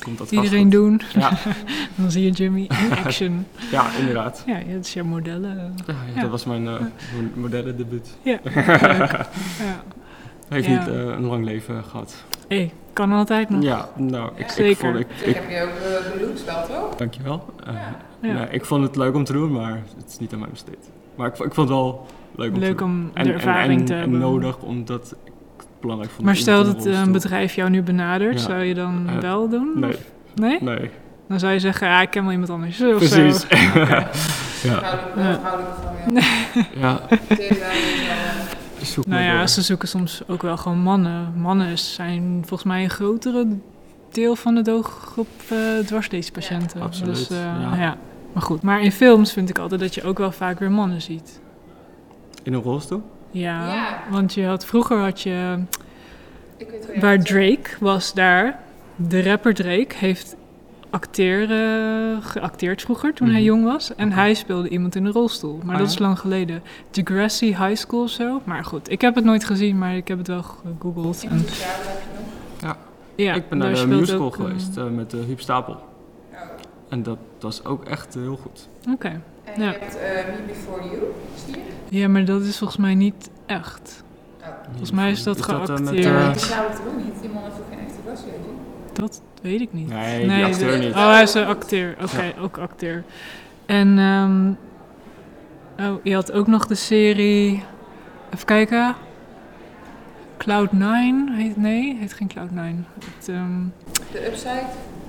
[SPEAKER 5] komt dat vast
[SPEAKER 4] Iedereen
[SPEAKER 5] goed.
[SPEAKER 4] doen,
[SPEAKER 5] Ja,
[SPEAKER 4] [LAUGHS] dan zie je Jimmy
[SPEAKER 5] [LAUGHS]
[SPEAKER 4] in action.
[SPEAKER 5] ja, inderdaad.
[SPEAKER 4] ja, dat is jouw modellen.
[SPEAKER 5] Ja, ja,
[SPEAKER 4] Ja. [LAUGHS]
[SPEAKER 5] [LAUGHS] dat was mijn, eh, mijn modellendebuut. [LAUGHS]
[SPEAKER 4] Ja, leuk. ja.
[SPEAKER 5] heeft
[SPEAKER 4] Ja.
[SPEAKER 5] niet eh, een lang leven gehad.
[SPEAKER 4] Hé, kan altijd nog.
[SPEAKER 5] Ja, nou, ik, ik
[SPEAKER 4] Zeker.
[SPEAKER 5] vond ik,
[SPEAKER 3] Ik
[SPEAKER 5] ik,
[SPEAKER 3] heb je ook eh, geloot wel, toch?
[SPEAKER 5] dankjewel. Eh,
[SPEAKER 4] Ja.
[SPEAKER 5] nou, ik vond het leuk om te doen, maar het is niet aan mij besteed. Maar ik, vo- ik vond het wel leuk om
[SPEAKER 4] Leuk
[SPEAKER 5] te doen.
[SPEAKER 4] om
[SPEAKER 5] En-
[SPEAKER 4] de ervaring
[SPEAKER 5] en, en,
[SPEAKER 4] te
[SPEAKER 5] en
[SPEAKER 4] hebben.
[SPEAKER 5] nodig, omdat ik het belangrijk vond.
[SPEAKER 4] Maar
[SPEAKER 5] om
[SPEAKER 4] stel
[SPEAKER 5] te
[SPEAKER 4] dat
[SPEAKER 5] doen
[SPEAKER 4] eh,
[SPEAKER 5] als
[SPEAKER 4] een
[SPEAKER 5] doel.
[SPEAKER 4] bedrijf jou nu benadert,
[SPEAKER 5] Ja.
[SPEAKER 4] zou je dan
[SPEAKER 5] Eh,
[SPEAKER 4] wel doen?
[SPEAKER 5] Nee,
[SPEAKER 4] Nee?
[SPEAKER 5] nee,
[SPEAKER 4] Dan zou je zeggen, ja, ik ken wel iemand anders. Of
[SPEAKER 5] precies.
[SPEAKER 4] [LAUGHS] Zo.
[SPEAKER 5] ja,
[SPEAKER 3] Houdelijk
[SPEAKER 4] Ja.
[SPEAKER 3] houdelijk van je.
[SPEAKER 5] ja,
[SPEAKER 4] [LAUGHS]
[SPEAKER 3] Tegen daar niet wel.
[SPEAKER 5] zoek
[SPEAKER 4] Nou
[SPEAKER 5] maar
[SPEAKER 4] ja,
[SPEAKER 5] door.
[SPEAKER 4] ze zoeken soms ook wel gewoon mannen. Mannen zijn volgens mij een grotere deel van de doelgroep eh dwarsleespatiënten.
[SPEAKER 5] Ja, absoluut,
[SPEAKER 4] Dus, eh,
[SPEAKER 5] ja.
[SPEAKER 4] ja. Maar goed, maar in films vind ik altijd dat je ook wel vaak weer mannen ziet.
[SPEAKER 5] In een rolstoel?
[SPEAKER 4] Ja,
[SPEAKER 3] Ja.
[SPEAKER 4] want je had, vroeger had je,
[SPEAKER 3] Ik weet wel.
[SPEAKER 4] waar Drake was daar, de rapper Drake heeft acteren, geacteerd vroeger toen hij
[SPEAKER 5] Mhm.
[SPEAKER 4] jong was. En
[SPEAKER 5] Oké.
[SPEAKER 4] hij speelde iemand in een rolstoel, maar
[SPEAKER 5] Ah,
[SPEAKER 4] dat
[SPEAKER 5] ja?
[SPEAKER 4] is lang geleden. Degrassi High School of zo. Maar goed, ik heb het nooit gezien, maar ik heb het wel gegoogeld.
[SPEAKER 3] In
[SPEAKER 4] en-
[SPEAKER 3] het sociaal heb je nog.
[SPEAKER 4] Ja,
[SPEAKER 5] ik ben naar
[SPEAKER 4] daar
[SPEAKER 5] de
[SPEAKER 4] speelt
[SPEAKER 5] musical
[SPEAKER 4] ook, eh,
[SPEAKER 5] geweest eh, met de Huub Stapel.
[SPEAKER 3] Oh.
[SPEAKER 5] En dat was ook echt eh, heel goed.
[SPEAKER 4] Oké.
[SPEAKER 3] En
[SPEAKER 4] Ja.
[SPEAKER 3] je hebt eh, Me Before You, zie je?
[SPEAKER 4] Ja, maar dat is volgens mij niet echt. Volgens mij is dat
[SPEAKER 5] eh, met,
[SPEAKER 4] geacteerd.
[SPEAKER 5] eh,
[SPEAKER 3] Oh. Ik zou het doen, niet. Die man heeft ook geen echte waslezer.
[SPEAKER 4] Dat weet ik niet.
[SPEAKER 5] nee, die acteur niet.
[SPEAKER 4] Oh, hij is een acteur. Oké, ook acteur. En ehm, oh, je had ook nog de serie... Even kijken. Cloud9 heet... Nee, heet geen Cloud9. Het, ehm,
[SPEAKER 3] De
[SPEAKER 4] [LAUGHS]
[SPEAKER 3] Upside.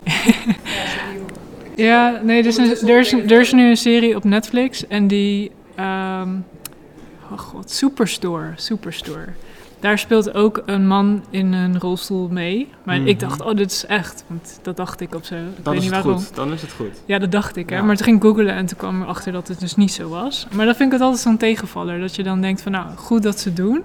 [SPEAKER 3] ja, zo die hoek.
[SPEAKER 4] Ja, nee, er is, een-
[SPEAKER 3] Ondertussen
[SPEAKER 4] er, is,
[SPEAKER 3] op
[SPEAKER 4] er is nu een serie op Netflix en die. ehm, oh god, Superstore. Superstore. Daar speelt ook een man in een rolstoel mee. Maar ik dacht,
[SPEAKER 5] Mhm.
[SPEAKER 4] oh, dit is echt. Want dat dacht ik op zo. Ik
[SPEAKER 5] Dan
[SPEAKER 4] weet
[SPEAKER 5] is
[SPEAKER 4] niet
[SPEAKER 5] het
[SPEAKER 4] waarom.
[SPEAKER 5] goed. Dan is het goed.
[SPEAKER 4] Ja, dat dacht ik. Hè?
[SPEAKER 5] Ja.
[SPEAKER 4] Maar toen ging ik googlen en toen kwam erachter dat het dus niet zo was. Maar dat vind ik het altijd zo'n tegenvaller. Dat je dan denkt van, nou, goed dat ze doen.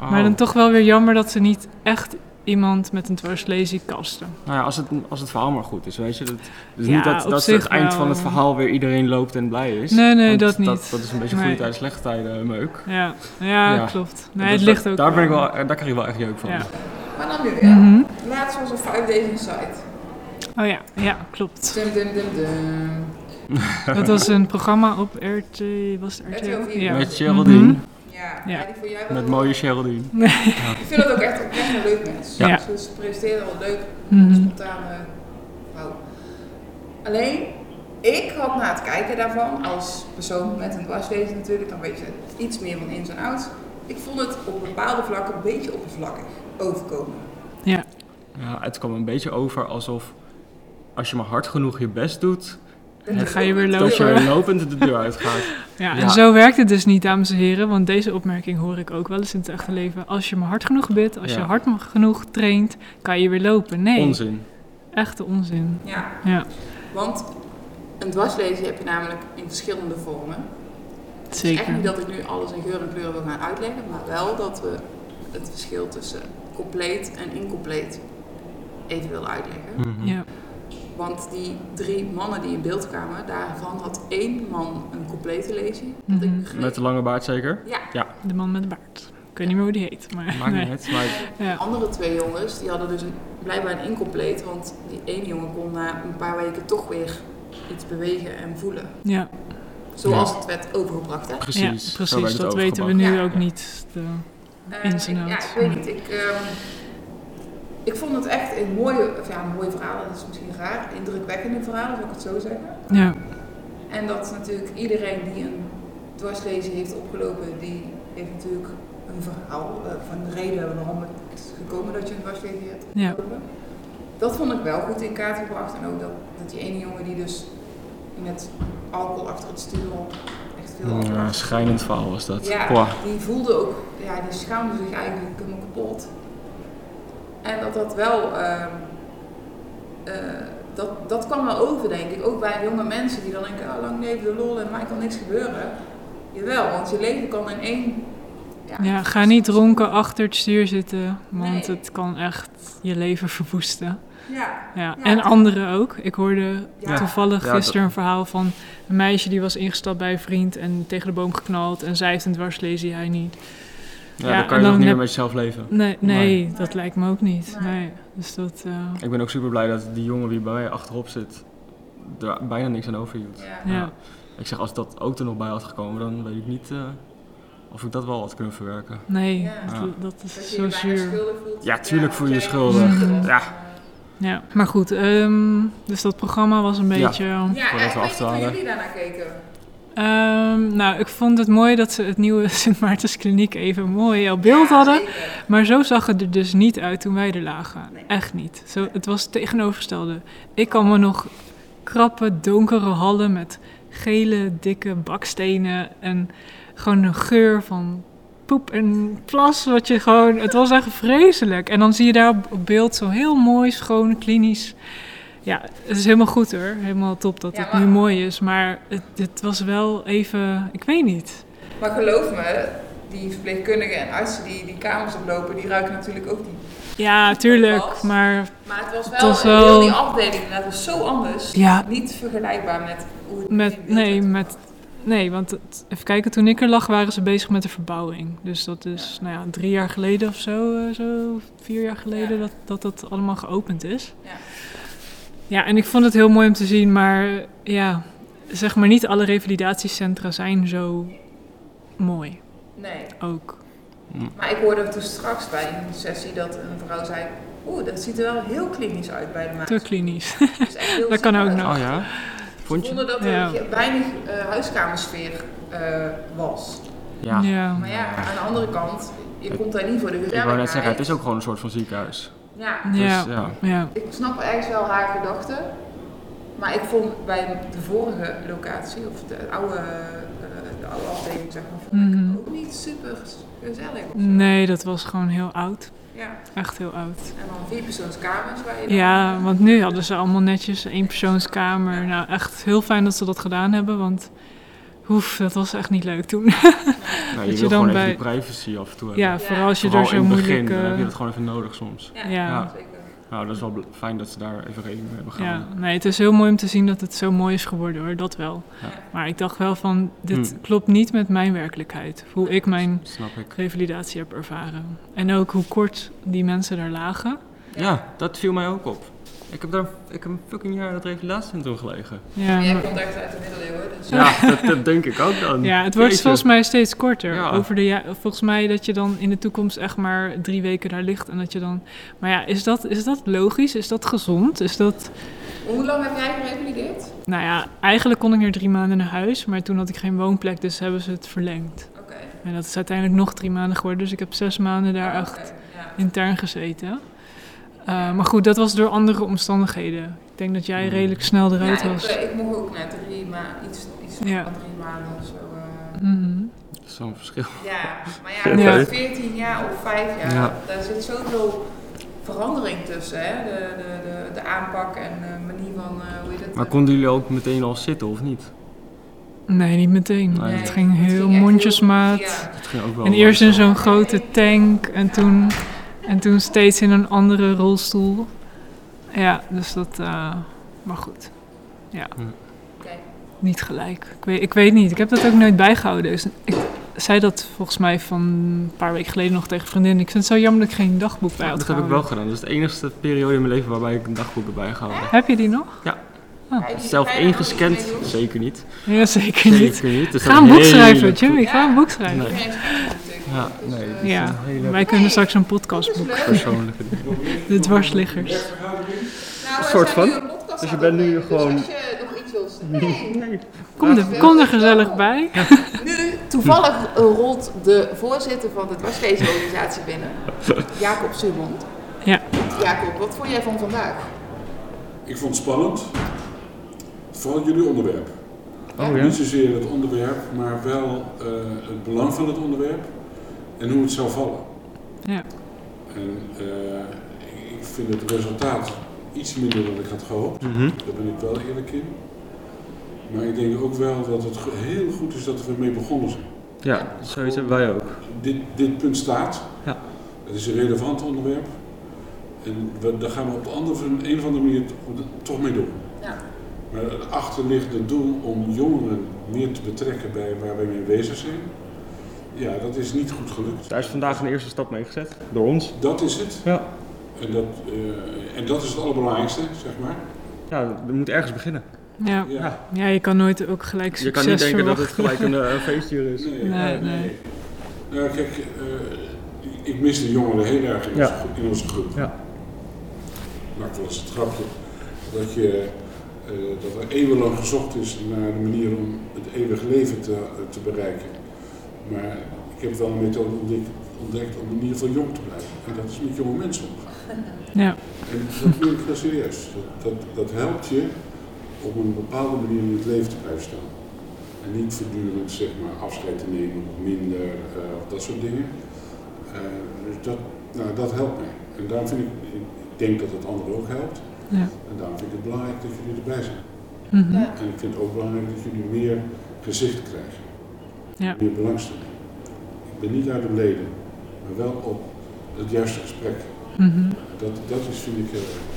[SPEAKER 4] Maar
[SPEAKER 5] Oh.
[SPEAKER 4] dan toch wel weer jammer dat ze niet echt iemand met een dwarslesie kasten.
[SPEAKER 5] Nou ja, als het, als het verhaal maar goed is, weet je. Dat, dus
[SPEAKER 4] Ja,
[SPEAKER 5] niet dat,
[SPEAKER 4] op
[SPEAKER 5] dat het
[SPEAKER 4] zich
[SPEAKER 5] eind
[SPEAKER 4] wel. eh.
[SPEAKER 5] van het verhaal weer iedereen loopt en blij is.
[SPEAKER 4] Nee, nee,
[SPEAKER 5] Want
[SPEAKER 4] dat niet.
[SPEAKER 5] Dat, is een beetje
[SPEAKER 4] Nee.
[SPEAKER 5] goede tijd, slechte tijden eh, meuk.
[SPEAKER 4] Ja, ja,
[SPEAKER 5] Ja.
[SPEAKER 4] klopt.
[SPEAKER 5] En
[SPEAKER 4] Nee, het
[SPEAKER 5] dat-
[SPEAKER 4] ligt ook
[SPEAKER 5] daar, ben ik
[SPEAKER 4] aan.
[SPEAKER 5] wel, eh, daar krijg ik wel echt jeuk van.
[SPEAKER 4] Ja.
[SPEAKER 3] Maar dan nu weer.
[SPEAKER 4] Mhm.
[SPEAKER 3] Laatst was een 5 Days Inside.
[SPEAKER 4] Oh ja, ja,
[SPEAKER 5] [LAUGHS]
[SPEAKER 4] klopt.
[SPEAKER 3] Dum dum dum dum.
[SPEAKER 4] Dat was een programma op RT... Was het RTL?
[SPEAKER 3] RTL4.
[SPEAKER 4] Ja.
[SPEAKER 5] Met Geraldine.
[SPEAKER 4] Mhm.
[SPEAKER 3] Ja,
[SPEAKER 4] Ja.
[SPEAKER 3] ja. die vond jij wel
[SPEAKER 5] Met
[SPEAKER 3] leuk.
[SPEAKER 5] mooie Geraldine.
[SPEAKER 3] Ik vind dat ook echt, echt een leuk mens.
[SPEAKER 4] Ja.
[SPEAKER 3] Ja. Ze presenteren wel leuk,
[SPEAKER 4] Mhm.
[SPEAKER 3] spontane vrouw. Alleen, ik had na het kijken daarvan, als persoon met een dwarslezen natuurlijk, dan weet je iets meer van ins en outs. Ik vond het op bepaalde vlakken een beetje oppervlakkig overkomen.
[SPEAKER 4] Ja.
[SPEAKER 5] Ja, het kwam een beetje over alsof als je maar hard genoeg je best doet,
[SPEAKER 3] Dat
[SPEAKER 4] Dan ga je weer
[SPEAKER 5] dat je
[SPEAKER 4] Lopen.
[SPEAKER 5] lopend de deur uitgaat.
[SPEAKER 4] ja, en
[SPEAKER 5] Ja.
[SPEAKER 4] zo werkt het dus niet, dames en heren. Want deze opmerking hoor ik ook wel eens in het echte leven. Als je maar hard genoeg bidt, als je
[SPEAKER 5] Ja.
[SPEAKER 4] hard genoeg traint, kan je weer lopen. [LAUGHS] Nee,
[SPEAKER 5] Onzin.
[SPEAKER 4] echte onzin.
[SPEAKER 3] Ja,
[SPEAKER 4] Ja,
[SPEAKER 3] want een dwarslezen heb je namelijk in verschillende vormen. Het is echt
[SPEAKER 4] zeker.
[SPEAKER 3] niet dat ik nu alles in geur en kleur wil gaan uitleggen, maar wel dat we het verschil tussen compleet en incompleet even willen uitleggen.
[SPEAKER 5] Mhm.
[SPEAKER 4] Ja,
[SPEAKER 3] Want die drie mannen die in beeld kwamen, daarvan had één man een complete lesie. Wat ik
[SPEAKER 4] Mhm.
[SPEAKER 3] begreep-
[SPEAKER 5] Met de lange baard zeker.
[SPEAKER 3] Ja,
[SPEAKER 4] de man met de baard. Ik weet niet meer hoe die heet, maar...
[SPEAKER 5] Maakt
[SPEAKER 4] nee.
[SPEAKER 5] niet uit, maar
[SPEAKER 3] de
[SPEAKER 4] Ja.
[SPEAKER 3] andere twee jongens die hadden dus een, blijkbaar een incompleet, want die ene jongen kon na een paar weken toch weer iets bewegen en voelen.
[SPEAKER 4] Ja,
[SPEAKER 3] Zoals het werd overgebracht. Hè?
[SPEAKER 5] precies.
[SPEAKER 4] ja,
[SPEAKER 5] zo
[SPEAKER 4] precies.
[SPEAKER 5] werd het
[SPEAKER 4] Dat weten we nu
[SPEAKER 3] overgebracht.
[SPEAKER 4] ook
[SPEAKER 5] Ja.
[SPEAKER 4] niet. De-
[SPEAKER 3] Eh,
[SPEAKER 4] Ins en
[SPEAKER 3] ik- Ja,
[SPEAKER 4] outs.
[SPEAKER 3] ik weet niet. Ik, ehm, ik vond het echt een mooie, of ja, een mooie verhaal, dat is misschien raar, indrukwekkende verhaal, zou ik het zo zeggen.
[SPEAKER 4] Ja,
[SPEAKER 3] En dat natuurlijk iedereen die een dwarslezen heeft opgelopen, die heeft natuurlijk een verhaal eh, van de reden waarom het is gekomen dat je een dwarslezen hebt
[SPEAKER 4] Ja.
[SPEAKER 3] opgelopen. Dat vond ik wel goed in kaart gebracht. En ook dat, dat die ene jongen die dus met alcohol achter het stuur al echt veel alcohol achter
[SPEAKER 5] Ja,
[SPEAKER 3] het stuur
[SPEAKER 5] schijnend verhaal was dat.
[SPEAKER 3] Ja.
[SPEAKER 5] Pwa.
[SPEAKER 3] die voelde ook, ja, die schaamde zich eigenlijk helemaal kapot. En dat dat wel, ehm, eh, dat, dat kwam wel over, denk ik. Ook bij jonge mensen die dan denken, oh, lang leven de lol en mij kan niks gebeuren. Jawel, want je leven kan in één...
[SPEAKER 4] Ja, ga niet dronken achter het stuur zitten, want
[SPEAKER 3] Nee.
[SPEAKER 4] het kan echt je leven verwoesten.
[SPEAKER 3] Ja,
[SPEAKER 4] Ja.
[SPEAKER 3] Ja.
[SPEAKER 4] En anderen ook. Ik hoorde
[SPEAKER 3] Ja.
[SPEAKER 4] toevallig
[SPEAKER 5] Ja, dat-
[SPEAKER 4] gisteren een verhaal van een meisje die was ingestapt bij een vriend en tegen de boom geknald en zij heeft een dwarslesie, hij niet.
[SPEAKER 5] Ja,
[SPEAKER 4] Ja,
[SPEAKER 5] dan
[SPEAKER 4] en
[SPEAKER 5] kan je
[SPEAKER 4] dan
[SPEAKER 5] nog niet
[SPEAKER 4] heb-
[SPEAKER 5] meer met jezelf leven.
[SPEAKER 4] Nee, nee,
[SPEAKER 5] Nee.
[SPEAKER 4] dat lijkt me ook niet.
[SPEAKER 3] Nee.
[SPEAKER 4] Nee. Dus dat, eh,
[SPEAKER 5] Ik ben ook super blij dat die jongen die bij mij achterop zit, er bijna niks aan overhield.
[SPEAKER 3] ja.
[SPEAKER 4] ja.
[SPEAKER 5] Ik zeg, als dat ook er nog bij had gekomen, dan weet ik niet eh, of ik dat wel had kunnen verwerken.
[SPEAKER 4] Nee,
[SPEAKER 3] Ja.
[SPEAKER 4] dat, dat
[SPEAKER 3] Dat
[SPEAKER 4] is
[SPEAKER 3] je je
[SPEAKER 4] zo
[SPEAKER 3] bijna
[SPEAKER 4] zuur.
[SPEAKER 3] schuldig voelt.
[SPEAKER 5] Ja, tuurlijk voel je je
[SPEAKER 3] want jij
[SPEAKER 5] schuldig.
[SPEAKER 3] was,
[SPEAKER 5] Ja.
[SPEAKER 3] eh,
[SPEAKER 4] Ja. Maar goed, ehm, dus dat programma was een
[SPEAKER 5] Ja.
[SPEAKER 4] beetje...
[SPEAKER 3] Ja,
[SPEAKER 5] Voordat
[SPEAKER 3] ja, ik
[SPEAKER 5] we
[SPEAKER 3] weet niet hoe
[SPEAKER 5] afdwalen.
[SPEAKER 3] jullie daarnaar keken.
[SPEAKER 4] Ehm, nou, ik vond het mooi dat ze het nieuwe [LAUGHS] Sint Maartenskliniek even mooi op beeld
[SPEAKER 3] Ja,
[SPEAKER 4] hadden.
[SPEAKER 3] zeker.
[SPEAKER 4] Maar zo zag het er dus niet uit toen wij er lagen.
[SPEAKER 3] Nee.
[SPEAKER 4] Echt niet. Zo, het was het tegenovergestelde. Ik kan me nog krappe, donkere hallen met gele, dikke bakstenen. En gewoon een geur van poep en plas. Wat je gewoon, het was echt vreselijk. En dan zie je daar op, op beeld zo heel mooi, schoon, klinisch. Ja, het is helemaal goed hoor. Helemaal top dat
[SPEAKER 3] Ja,
[SPEAKER 4] het
[SPEAKER 3] maar-
[SPEAKER 4] nu mooi is. Maar het, het was wel even, ik weet niet.
[SPEAKER 3] Maar geloof me, die verpleegkundigen en artsen die die kamers oplopen, die ruiken natuurlijk ook niet.
[SPEAKER 4] Ja, tuurlijk. Maar
[SPEAKER 3] Maar het was wel,
[SPEAKER 4] Het was
[SPEAKER 3] heel
[SPEAKER 4] wel-
[SPEAKER 3] die afdeling, dat was zo anders.
[SPEAKER 4] ja,
[SPEAKER 3] Niet vergelijkbaar met hoe het in
[SPEAKER 4] Met,
[SPEAKER 3] beeld
[SPEAKER 4] nee,
[SPEAKER 3] werd.
[SPEAKER 4] met, nee, want het- even kijken, toen ik er lag waren ze bezig met de verbouwing. Dus dat is nou ja, drie jaar geleden of zo, eh, zo vier jaar geleden
[SPEAKER 3] Ja.
[SPEAKER 4] dat, dat dat allemaal geopend is.
[SPEAKER 3] Ja.
[SPEAKER 4] Ja, en ik vond het heel mooi om te zien, maar ja, zeg maar niet alle revalidatiecentra zijn zo mooi
[SPEAKER 3] Nee,
[SPEAKER 4] ook.
[SPEAKER 3] maar ik hoorde toen straks bij een sessie dat een vrouw zei... Oeh, dat ziet er wel heel klinisch uit bij de maat.
[SPEAKER 4] Te klinisch.
[SPEAKER 3] Dus echt heel
[SPEAKER 4] [LAUGHS] Dat kan
[SPEAKER 3] zichtbaar.
[SPEAKER 4] ook nog.
[SPEAKER 5] Oh ja? Vond je?
[SPEAKER 3] Zonder dat
[SPEAKER 4] Ja.
[SPEAKER 3] er weinig eh, huiskamersfeer eh, was.
[SPEAKER 4] [LAUGHS]
[SPEAKER 5] Ja.
[SPEAKER 3] Maar ja, aan de andere kant, je komt daar niet voor de
[SPEAKER 5] Ik wou net zeggen,
[SPEAKER 3] gezelligheid.
[SPEAKER 5] het is ook gewoon een soort van ziekenhuis.
[SPEAKER 3] Ja,
[SPEAKER 4] Ja.
[SPEAKER 5] Dus ja.
[SPEAKER 4] ja.
[SPEAKER 3] ik snap ergens wel haar gedachten. Maar ik vond bij de vorige locatie, of de oude, eh, de oude afdeling, zeg maar, vond ik
[SPEAKER 4] Mhm.
[SPEAKER 3] ook niet super gezellig. of zo.
[SPEAKER 4] Nee, dat was gewoon heel oud.
[SPEAKER 3] Ja,
[SPEAKER 4] Echt heel oud.
[SPEAKER 3] en dan vier persoonskamers waar je dan-
[SPEAKER 4] Ja, want nu hadden ze allemaal netjes een eenpersoonskamer. Nou, echt heel fijn dat ze dat gedaan hebben, want hoef, dat was echt niet leuk toen.
[SPEAKER 5] Nou, je
[SPEAKER 4] je
[SPEAKER 5] wil
[SPEAKER 4] dan
[SPEAKER 5] gewoon even
[SPEAKER 4] bij-
[SPEAKER 5] die privacy af en toe hebben.
[SPEAKER 4] Ja, vooral als je
[SPEAKER 5] Vooral
[SPEAKER 4] er zo
[SPEAKER 5] in het begin,
[SPEAKER 4] moeilijk...
[SPEAKER 5] dan
[SPEAKER 4] eh,
[SPEAKER 5] heb je dat gewoon even nodig soms.
[SPEAKER 3] Ja,
[SPEAKER 4] ja.
[SPEAKER 3] zeker.
[SPEAKER 5] Nou, dat is wel bl- fijn dat ze daar even rekening mee hebben
[SPEAKER 4] ja,
[SPEAKER 5] gehouden.
[SPEAKER 4] nee, het is heel mooi om te zien dat het zo mooi is geworden hoor, dat wel.
[SPEAKER 5] Ja.
[SPEAKER 4] Maar ik dacht wel van, dit
[SPEAKER 5] Hmm.
[SPEAKER 4] klopt niet met mijn werkelijkheid. Hoe ik mijn
[SPEAKER 5] Snap ik.
[SPEAKER 4] revalidatie heb ervaren. En ook hoe kort die mensen daar lagen.
[SPEAKER 5] Ja, dat viel mij ook op. Ik heb daar ik heb een fucking jaar in dat revalidatiecentrum gelegen.
[SPEAKER 4] Ja,
[SPEAKER 3] Maar jij
[SPEAKER 4] maar-
[SPEAKER 3] komt echt uit de middeleeuwen, dus
[SPEAKER 4] [LAUGHS]
[SPEAKER 5] Ja, dat, dat denk ik ook dan.
[SPEAKER 4] ja het wordt
[SPEAKER 5] Jeetje.
[SPEAKER 4] volgens mij steeds korter.
[SPEAKER 5] Ja.
[SPEAKER 4] Over de ja- volgens mij dat je dan in de toekomst echt maar drie weken daar ligt. En dat je dan... Maar ja, is dat, is dat logisch? Is dat gezond? Is dat...
[SPEAKER 3] Hoe lang heb jij gerevalideerd?
[SPEAKER 4] Nou ja, eigenlijk kon ik er drie maanden naar huis. Maar toen had ik geen woonplek, dus hebben ze het verlengd.
[SPEAKER 3] Oké.
[SPEAKER 4] En dat is uiteindelijk nog drie maanden geworden. Dus ik heb zes maanden daar
[SPEAKER 3] Ah,
[SPEAKER 4] echt
[SPEAKER 3] oké, ja.
[SPEAKER 4] intern gezeten. Eh, maar goed, dat was door andere omstandigheden. Ik denk dat jij
[SPEAKER 5] Hmm.
[SPEAKER 4] redelijk snel
[SPEAKER 3] Ja,
[SPEAKER 4] eruit
[SPEAKER 3] ik,
[SPEAKER 4] was.
[SPEAKER 3] eh, ik mocht ook naar drie maanden, iets, iets
[SPEAKER 4] Ja.
[SPEAKER 3] van drie maanden of zo. eh.
[SPEAKER 4] Mhm.
[SPEAKER 5] Zo'n verschil.
[SPEAKER 3] Ja, maar ja,
[SPEAKER 4] Ja.
[SPEAKER 3] voor 14 jaar of 5 jaar,
[SPEAKER 5] Ja.
[SPEAKER 3] daar zit zoveel verandering tussen. Hè? De, de, de, de aanpak en de manier van, eh, hoe je dat...
[SPEAKER 5] Maar konden jullie ook meteen al zitten of niet?
[SPEAKER 4] Nee, niet meteen.
[SPEAKER 5] Nee.
[SPEAKER 4] Het ging
[SPEAKER 3] het
[SPEAKER 4] heel
[SPEAKER 3] echt
[SPEAKER 4] mondjesmaat.
[SPEAKER 3] ja.
[SPEAKER 5] Dat ging ook wel.
[SPEAKER 4] En eerst in
[SPEAKER 5] langzaam.
[SPEAKER 4] zo'n grote tank en toen, en toen steeds in een andere rolstoel. Ja, dus dat. eh, maar goed,
[SPEAKER 3] Oké.
[SPEAKER 4] niet gelijk. Ik weet, ik weet niet. Ik heb dat ook nooit bijgehouden. Dus ik zei dat volgens mij van een paar weken geleden nog tegen een vriendin. Ik vind het zo jammer dat ik geen dagboek bij had.
[SPEAKER 5] Dat heb ik wel
[SPEAKER 4] gehouden.
[SPEAKER 5] gedaan. Dat is de enige periode in mijn leven waarbij ik een dagboek heb bijgehouden.
[SPEAKER 4] Heb je die nog?
[SPEAKER 3] Ga je die- ga
[SPEAKER 5] Zelf
[SPEAKER 3] je daar nog iets
[SPEAKER 5] ingescand?
[SPEAKER 3] mee doen?
[SPEAKER 5] Zeker
[SPEAKER 4] [LAUGHS]
[SPEAKER 5] niet.
[SPEAKER 4] Ja, zeker niet.
[SPEAKER 5] Zeker niet. Dus
[SPEAKER 4] Ga een
[SPEAKER 5] dat
[SPEAKER 4] boek
[SPEAKER 5] is
[SPEAKER 4] schrijven,
[SPEAKER 5] hele-
[SPEAKER 4] Jimmy. Ga een boek
[SPEAKER 5] Nee.
[SPEAKER 4] schrijven.
[SPEAKER 3] Iedereen is natuurlijk,
[SPEAKER 5] Ja,
[SPEAKER 3] dus,
[SPEAKER 5] nee,
[SPEAKER 3] eh,
[SPEAKER 5] dit is
[SPEAKER 4] Ja.
[SPEAKER 5] een hele
[SPEAKER 4] Wij kunnen straks een podcastboek. [LAUGHS]
[SPEAKER 5] persoonlijke ding.
[SPEAKER 4] De dwarsliggers.
[SPEAKER 3] nou, we
[SPEAKER 5] soort
[SPEAKER 3] zijn nu
[SPEAKER 5] van.
[SPEAKER 3] een podcast
[SPEAKER 5] Dus je
[SPEAKER 3] aan
[SPEAKER 5] bent
[SPEAKER 3] het
[SPEAKER 5] nu
[SPEAKER 3] opnemen, dus
[SPEAKER 5] gewoon-
[SPEAKER 3] als je nog iets wilt zeggen- Nee.
[SPEAKER 4] Kom er, kom er gezellig bij.
[SPEAKER 3] Nu, toevallig eh, rolt de voorzitter van de dwarsleesorganisatie binnen. Jacob Simon.
[SPEAKER 4] Ja.
[SPEAKER 3] Jacob, wat vond jij van vandaag?
[SPEAKER 6] Ik vond het spannend. Vooral jullie onderwerp.
[SPEAKER 5] Oh ja.
[SPEAKER 6] Niet zozeer het onderwerp, maar wel eh, het belang van het onderwerp en hoe het zou vallen.
[SPEAKER 4] Ja.
[SPEAKER 6] En eh, ik- ik vind het resultaat iets minder dan ik had gehoopt.
[SPEAKER 5] Mhm.
[SPEAKER 6] Daar ben ik wel eerlijk in. Maar ik denk ook wel dat het go- heel goed is dat we ermee begonnen zijn.
[SPEAKER 5] Ja, zoiets hebben wij ook.
[SPEAKER 6] Dit, dit punt staat.
[SPEAKER 5] Ja.
[SPEAKER 6] Het is een relevant onderwerp. En we, daar gaan we op de andere, een of andere manier t- toch mee door.
[SPEAKER 3] Ja.
[SPEAKER 6] Maar het achterliggende doel om jongeren meer te betrekken bij waar wij mee bezig zijn, ja, dat is niet goed gelukt.
[SPEAKER 5] Daar is vandaag een eerste stap mee gezet. Door ons.
[SPEAKER 6] Dat is het.
[SPEAKER 5] Ja.
[SPEAKER 6] En dat, eh, en dat is het allerbelangrijkste, zeg maar.
[SPEAKER 5] Ja, we moeten ergens beginnen.
[SPEAKER 4] Ja.
[SPEAKER 6] Ja.
[SPEAKER 4] Ja, je kan nooit ook gelijk
[SPEAKER 5] Je
[SPEAKER 4] succes
[SPEAKER 5] kan niet denken dat
[SPEAKER 4] [LAUGHS]
[SPEAKER 5] het
[SPEAKER 4] verwachten.
[SPEAKER 5] gelijk een eh, feestje is.
[SPEAKER 6] Nee,
[SPEAKER 4] Nee, nee.
[SPEAKER 6] Nou, kijk, eh, ik mis de jongeren heel erg in,
[SPEAKER 5] Ja.
[SPEAKER 6] onze, gro- in onze groep.
[SPEAKER 5] Ja.
[SPEAKER 6] Maakt wel eens het grapje dat, je, eh, dat er eeuwenlang gezocht is naar de manier om het eeuwige leven te, eh, te bereiken. Maar ik heb wel een methode ontdekt, ontdekt om in ieder geval jong te blijven. En dat is met jonge mensen omgaan.
[SPEAKER 4] Ja.
[SPEAKER 6] En dat meen ik heel serieus. Dat, dat, dat helpt je op een bepaalde manier in het leven te blijven staan. En niet voortdurend zeg maar, afscheid te nemen of minder eh, of dat soort dingen. Eh, dus dat, nou, dat helpt mij. En daarom vind ik, ik denk dat het anderen ook helpt.
[SPEAKER 4] Ja.
[SPEAKER 6] En daarom vind ik het belangrijk dat jullie erbij zijn.
[SPEAKER 4] Mhm.
[SPEAKER 3] Ja.
[SPEAKER 6] En ik vind het ook belangrijk dat jullie meer gezicht krijgen.
[SPEAKER 4] Ja.
[SPEAKER 6] Meer belangstelling. Ik ben niet uit de leden, maar wel op het juiste gesprek.
[SPEAKER 4] Mhm.
[SPEAKER 6] Dat, dat is vind ik heel erg.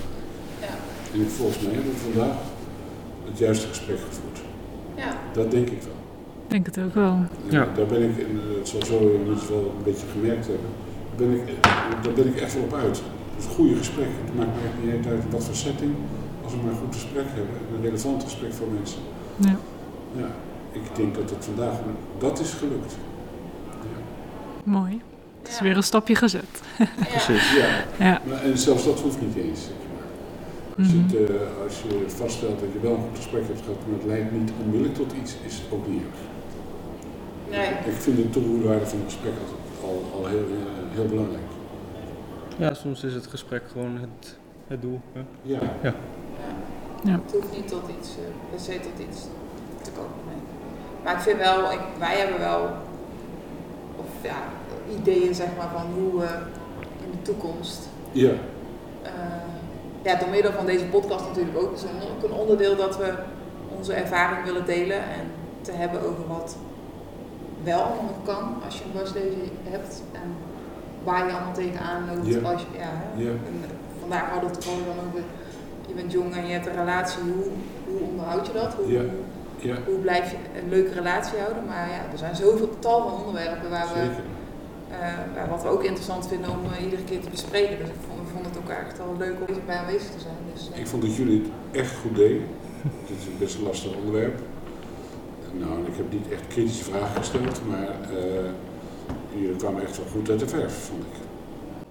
[SPEAKER 3] Ja.
[SPEAKER 6] En ik- volgens mij hebben we vandaag het juiste gesprek gevoerd.
[SPEAKER 3] Ja.
[SPEAKER 6] Dat denk ik wel.
[SPEAKER 4] Ik denk het ook wel.
[SPEAKER 6] En
[SPEAKER 5] Ja.
[SPEAKER 6] Daar ben ik, en eh, dat zal zo inmiddels wel een beetje gemerkt hebben, daar ben ik, eh, daar ben ik echt wel op uit. Dus goede gesprek. Het maakt me echt niet eens uit in wat voor setting. Als we maar een goed gesprek hebben, een relevant gesprek voor mensen.
[SPEAKER 4] Ja.
[SPEAKER 6] Ja, ik denk dat het vandaag, dat is gelukt.
[SPEAKER 4] Mooi. Het is weer een stapje gezet.
[SPEAKER 3] Ja.
[SPEAKER 5] Precies.
[SPEAKER 6] Ja,
[SPEAKER 4] Ja.
[SPEAKER 6] maar- en zelfs dat hoeft niet eens. zeg maar. Als je, het,
[SPEAKER 4] Mhm.
[SPEAKER 6] eh, als je vaststelt dat je wel een goed gesprek hebt gehad, maar het leidt niet onmiddellijk tot iets, is het ook niet erg.
[SPEAKER 3] Nee.
[SPEAKER 6] Ik vind de toevoegwaarde van het gesprek altijd al, al heel, eh, heel belangrijk.
[SPEAKER 5] Ja, soms is het gesprek gewoon het, het doel. hè.
[SPEAKER 6] Ja,
[SPEAKER 4] Ja.
[SPEAKER 3] Het hoeft niet tot iets, eh, per se tot iets te komen. nee. Maar ik vind wel, ik, wij hebben wel of ja, ideeën zeg maar, van hoe we in de toekomst,
[SPEAKER 6] ja,
[SPEAKER 3] eh, ja, door middel van deze podcast natuurlijk ook, is een, ook een onderdeel dat we onze ervaring willen delen en te hebben over wat wel allemaal nog kan als je een waslezen hebt en waar je allemaal tegenaan loopt.
[SPEAKER 6] Ja.
[SPEAKER 3] Als je, ja, hè.
[SPEAKER 6] ja,
[SPEAKER 3] En vandaag hadden we het gewoon dan over, je bent jong en je hebt een relatie, hoe, hoe onderhoud je dat? Hoe,
[SPEAKER 6] Ja. ja,
[SPEAKER 3] hoe blijf je een leuke relatie houden? Maar ja, er zijn zoveel tal van onderwerpen waar we,
[SPEAKER 6] zeker.
[SPEAKER 3] eh, ja, wat we ook interessant vinden om eh, iedere keer te bespreken. Dus ik vond, we vonden het ook echt wel leuk om bij aanwezig te zijn. Dus, eh,
[SPEAKER 6] Ik vond dat jullie het echt goed deden. Dit is een best lastig onderwerp. Nou, en ik heb niet echt kritische vragen gesteld, maar eh, jullie kwamen echt wel goed uit de verf, vond ik.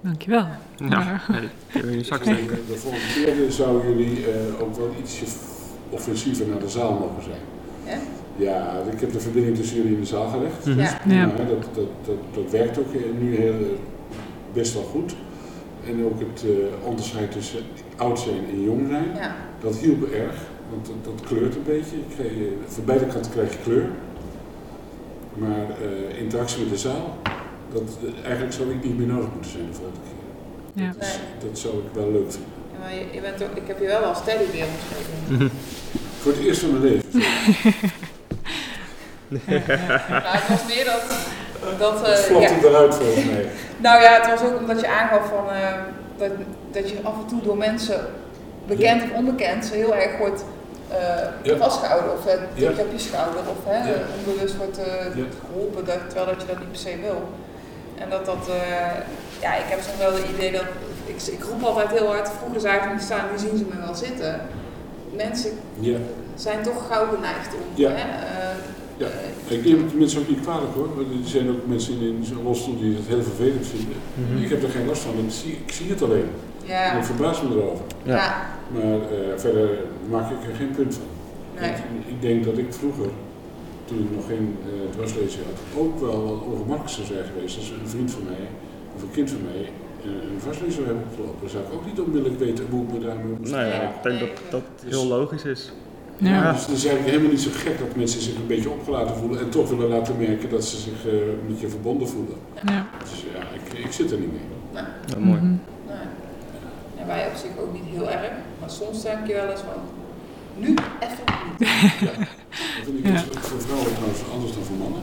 [SPEAKER 4] Dankjewel.
[SPEAKER 5] Ja, nee, kun je in je zak
[SPEAKER 6] Dus ik
[SPEAKER 5] steken.
[SPEAKER 6] denk, De volgende keer zouden jullie eh, ook wel ietsje offensiever naar de zaal mogen zijn.
[SPEAKER 3] Ja?
[SPEAKER 6] Ja, ik heb de verbinding tussen jullie in de zaal gelegd.
[SPEAKER 5] Mhm.
[SPEAKER 3] ja.
[SPEAKER 4] Ja.
[SPEAKER 6] Maar dat, dat, dat, dat werkt ook eh, nu heel, eh, best wel goed. En ook het eh, onderscheid tussen oud zijn en jong zijn,
[SPEAKER 3] Ja,
[SPEAKER 6] dat hielp erg. Want dat, dat kleurt een beetje. Ik kreeg, eh, van beide kanten krijg je kleur. Maar eh, interactie met de zaal, dat, eh, eigenlijk zou ik niet meer nodig moeten zijn de volgende keer.
[SPEAKER 4] Ja.
[SPEAKER 6] Dat, is- dat zou ik wel leuk vinden.
[SPEAKER 3] Ja, maar je, je bent ook, ik heb je wel als teddybeer omschreven.
[SPEAKER 6] Voor het eerst van mijn leven.
[SPEAKER 3] Eh, Nou, het was meer dat... dat
[SPEAKER 6] Dat
[SPEAKER 3] eh,
[SPEAKER 6] vlot
[SPEAKER 3] ja.
[SPEAKER 6] hem eruit volgens mij.
[SPEAKER 3] Nou ja, het was ook omdat je aangaf van, eh, dat, dat je af en toe door mensen, bekend of onbekend, heel erg wordt eh,
[SPEAKER 6] Ja.
[SPEAKER 3] vastgehouden of eh,
[SPEAKER 6] Ja.
[SPEAKER 3] tikt op je schouder of hè,
[SPEAKER 6] Ja.
[SPEAKER 3] onbewust wordt eh,
[SPEAKER 6] Ja.
[SPEAKER 3] geholpen, dat, terwijl dat je dat niet per se wil. En dat dat, eh, ja, ik heb soms wel het idee dat, ik, ik roep altijd heel hard, vroeger zag ik niet staan, nu zien ze me wel zitten. Mensen
[SPEAKER 6] Ja.
[SPEAKER 3] zijn toch gauw geneigd om,
[SPEAKER 6] Ja.
[SPEAKER 3] hè, eh,
[SPEAKER 6] Ja.
[SPEAKER 3] eh,
[SPEAKER 6] Ik neem het de mensen ook niet kwalijk hoor. want Er zijn ook mensen in zo'n rolstoel die het heel vervelend vinden.
[SPEAKER 5] Mhm.
[SPEAKER 6] Ik heb er geen last van, ik zie, ik zie het alleen.
[SPEAKER 3] ja,
[SPEAKER 6] En ik verbaas me erover.
[SPEAKER 5] Ja.
[SPEAKER 3] ja,
[SPEAKER 6] Maar eh, verder maak ik er geen punt van.
[SPEAKER 3] nee,
[SPEAKER 6] Want Ik denk dat ik vroeger, toen ik nog geen eh dwarslezen had, ook wel wat ongemakkelijk zou zijn geweest als een vriend van mij of een kind van mij eh, een dwarslezen zou hebben opgelopen. Dan zou ik ook niet onmiddellijk weten hoe ik me daarmee moest
[SPEAKER 5] Nou ja, ik denk dat dat heel logisch is.
[SPEAKER 4] Ja.
[SPEAKER 6] Dus het is eigenlijk helemaal niet zo gek dat mensen zich een beetje opgelaten voelen en toch willen laten merken dat ze zich eh, met je verbonden voelen.
[SPEAKER 4] Ja.
[SPEAKER 6] Dus ja, ik, ik zit er niet mee.
[SPEAKER 5] Ja, mooi.
[SPEAKER 4] Mhm.
[SPEAKER 3] Nee. Nou, En wij op zich ook niet heel erg, maar soms denk je wel eens van, nu even niet.
[SPEAKER 6] Dat vind ik
[SPEAKER 4] Ja.
[SPEAKER 6] iets- voor vrouwen trouwens anders dan voor mannen.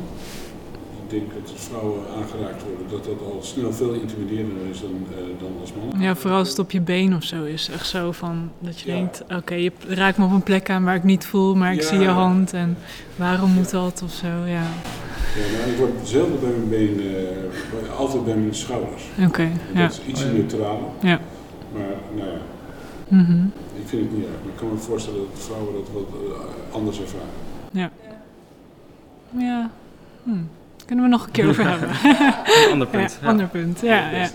[SPEAKER 6] Ik denk dat als vrouwen aangeraakt worden, dat dat al snel veel intimiderender is dan, eh, dan als mannen.
[SPEAKER 4] Ja, vooral als het op je been of zo is. Echt zo van dat je
[SPEAKER 6] Ja.
[SPEAKER 4] denkt: oké, je raakt me op een plek aan waar ik niet voel, maar ik
[SPEAKER 6] Ja.
[SPEAKER 4] zie je hand en waarom moet dat of zo? Ja,
[SPEAKER 6] Ja, nou, ik word zelden bij mijn been, eh, bij- altijd bij mijn schouders.
[SPEAKER 4] oké.
[SPEAKER 6] En
[SPEAKER 4] Ja.
[SPEAKER 6] Dat is iets
[SPEAKER 5] Oh, ja.
[SPEAKER 6] neutraler.
[SPEAKER 4] Ja.
[SPEAKER 6] Maar nou ja,
[SPEAKER 4] Mhm.
[SPEAKER 6] ik vind het niet erg. Maar ik kan me voorstellen dat vrouwen dat wat eh, anders ervaren.
[SPEAKER 4] ja. Hm. Kunnen we nog een keer over hebben.
[SPEAKER 5] Een ander punt.
[SPEAKER 4] Ja, ander punt. Ja, ja, ja,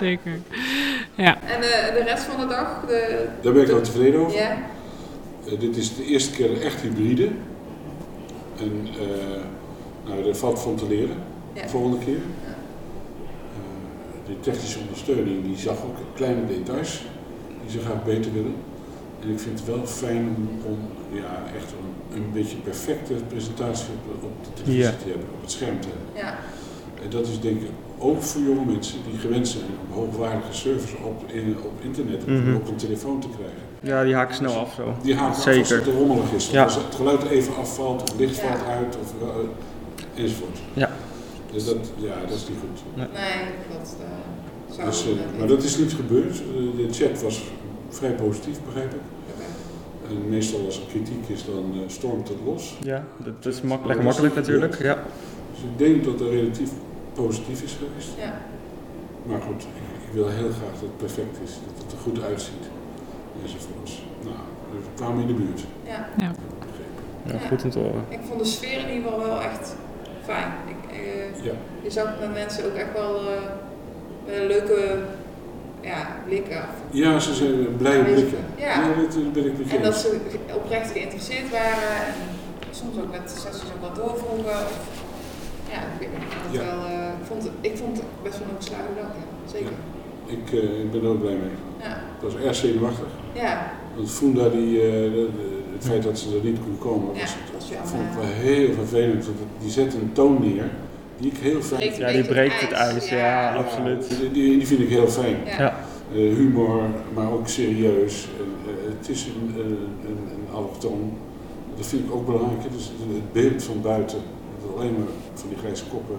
[SPEAKER 4] zeker.
[SPEAKER 3] En eh, de rest van de dag? De,
[SPEAKER 6] Daar ben ik wel tevreden over.
[SPEAKER 3] ja?
[SPEAKER 6] Eh, dit is de eerste keer echt hybride. En eh nou, er valt van te leren
[SPEAKER 3] Ja.
[SPEAKER 6] de volgende keer. Eh, de technische ondersteuning die zag ook kleine details die ze graag beter willen. En ik vind het wel fijn om, om ja, echt een, een beetje perfecte presentatie op, op de televisie
[SPEAKER 5] Ja.
[SPEAKER 6] te hebben, op het scherm te hebben.
[SPEAKER 3] Ja.
[SPEAKER 6] En dat is denk ik ook voor jonge mensen die gewend zijn om hoogwaardige service op, in- op internet
[SPEAKER 5] Mhm.
[SPEAKER 6] en op een telefoon te krijgen.
[SPEAKER 5] Ja, die haken snel af zo.
[SPEAKER 6] Die haakt af als
[SPEAKER 5] Zeker.
[SPEAKER 6] het te rommelig is. Of
[SPEAKER 5] Ja.
[SPEAKER 6] Als het geluid even afvalt, of licht
[SPEAKER 3] Ja.
[SPEAKER 6] valt uit, of, eh, enzovoort.
[SPEAKER 5] Ja.
[SPEAKER 6] Dus dat, ja, dat is niet goed.
[SPEAKER 3] Nee, dat eh zou
[SPEAKER 6] Dus, eh,
[SPEAKER 3] ik niet
[SPEAKER 6] maar
[SPEAKER 3] doen.
[SPEAKER 6] dat is niet gebeurd. Eh, de chat was vrij positief, begrijp ik. En meestal als er kritiek is, dan eh, stormt het los.
[SPEAKER 5] Ja, dat is mak lekker makkelijk natuurlijk. Ja.
[SPEAKER 6] Dus ik denk dat dat relatief positief is geweest.
[SPEAKER 3] Ja.
[SPEAKER 6] Maar goed, ik, ik wil heel graag dat het perfect is, dat het er goed uitziet. Enzovoorts. Nou, we kwamen in de buurt.
[SPEAKER 3] Ja.
[SPEAKER 4] Ja.
[SPEAKER 5] ja, goed om te horen.
[SPEAKER 3] Ik vond de sfeer in ieder geval wel echt fijn. Ik, eh,
[SPEAKER 6] Ja.
[SPEAKER 3] je zag met mensen ook echt wel eh, met een leuke ja, blikken.
[SPEAKER 6] Ja, ze zijn blij blikken.
[SPEAKER 3] Ja.
[SPEAKER 6] dat dat ben ik met je
[SPEAKER 3] En dat
[SPEAKER 6] eens.
[SPEAKER 3] ze oprecht geïnteresseerd waren. En soms ook met sessies ook wat doorvroegen. Of, ja, ik, weet niet, ik vond het
[SPEAKER 6] Ja.
[SPEAKER 3] wel, eh, ik vond het, ik vond het best wel een geslaagde dag. ja. Zeker.
[SPEAKER 6] Ik, eh, ik ben er ook blij mee.
[SPEAKER 3] Ja.
[SPEAKER 6] Dat was erg zenuwachtig.
[SPEAKER 3] Ja.
[SPEAKER 6] Want Funda, die, eh, de- de- het feit dat ze er niet kon komen,
[SPEAKER 3] Ja,
[SPEAKER 6] was,
[SPEAKER 3] dat is
[SPEAKER 6] vond ik wel
[SPEAKER 3] jammer.
[SPEAKER 6] heel vervelend. Want het- die zet een toon neer die ik heel fijn
[SPEAKER 3] Breekt
[SPEAKER 6] vind.
[SPEAKER 5] Ja, die breekt het ijs. Ja,
[SPEAKER 3] Ja,
[SPEAKER 5] absoluut.
[SPEAKER 6] Die, die- die vind ik heel fijn.
[SPEAKER 3] Ja.
[SPEAKER 5] Ja.
[SPEAKER 6] Eh, humor, maar ook serieus. En, eh, het is een, een, een, een allochtoon. Dat vind ik ook belangrijk. hè. Dus het beeld van buiten. Dat alleen maar van die grijze koppen.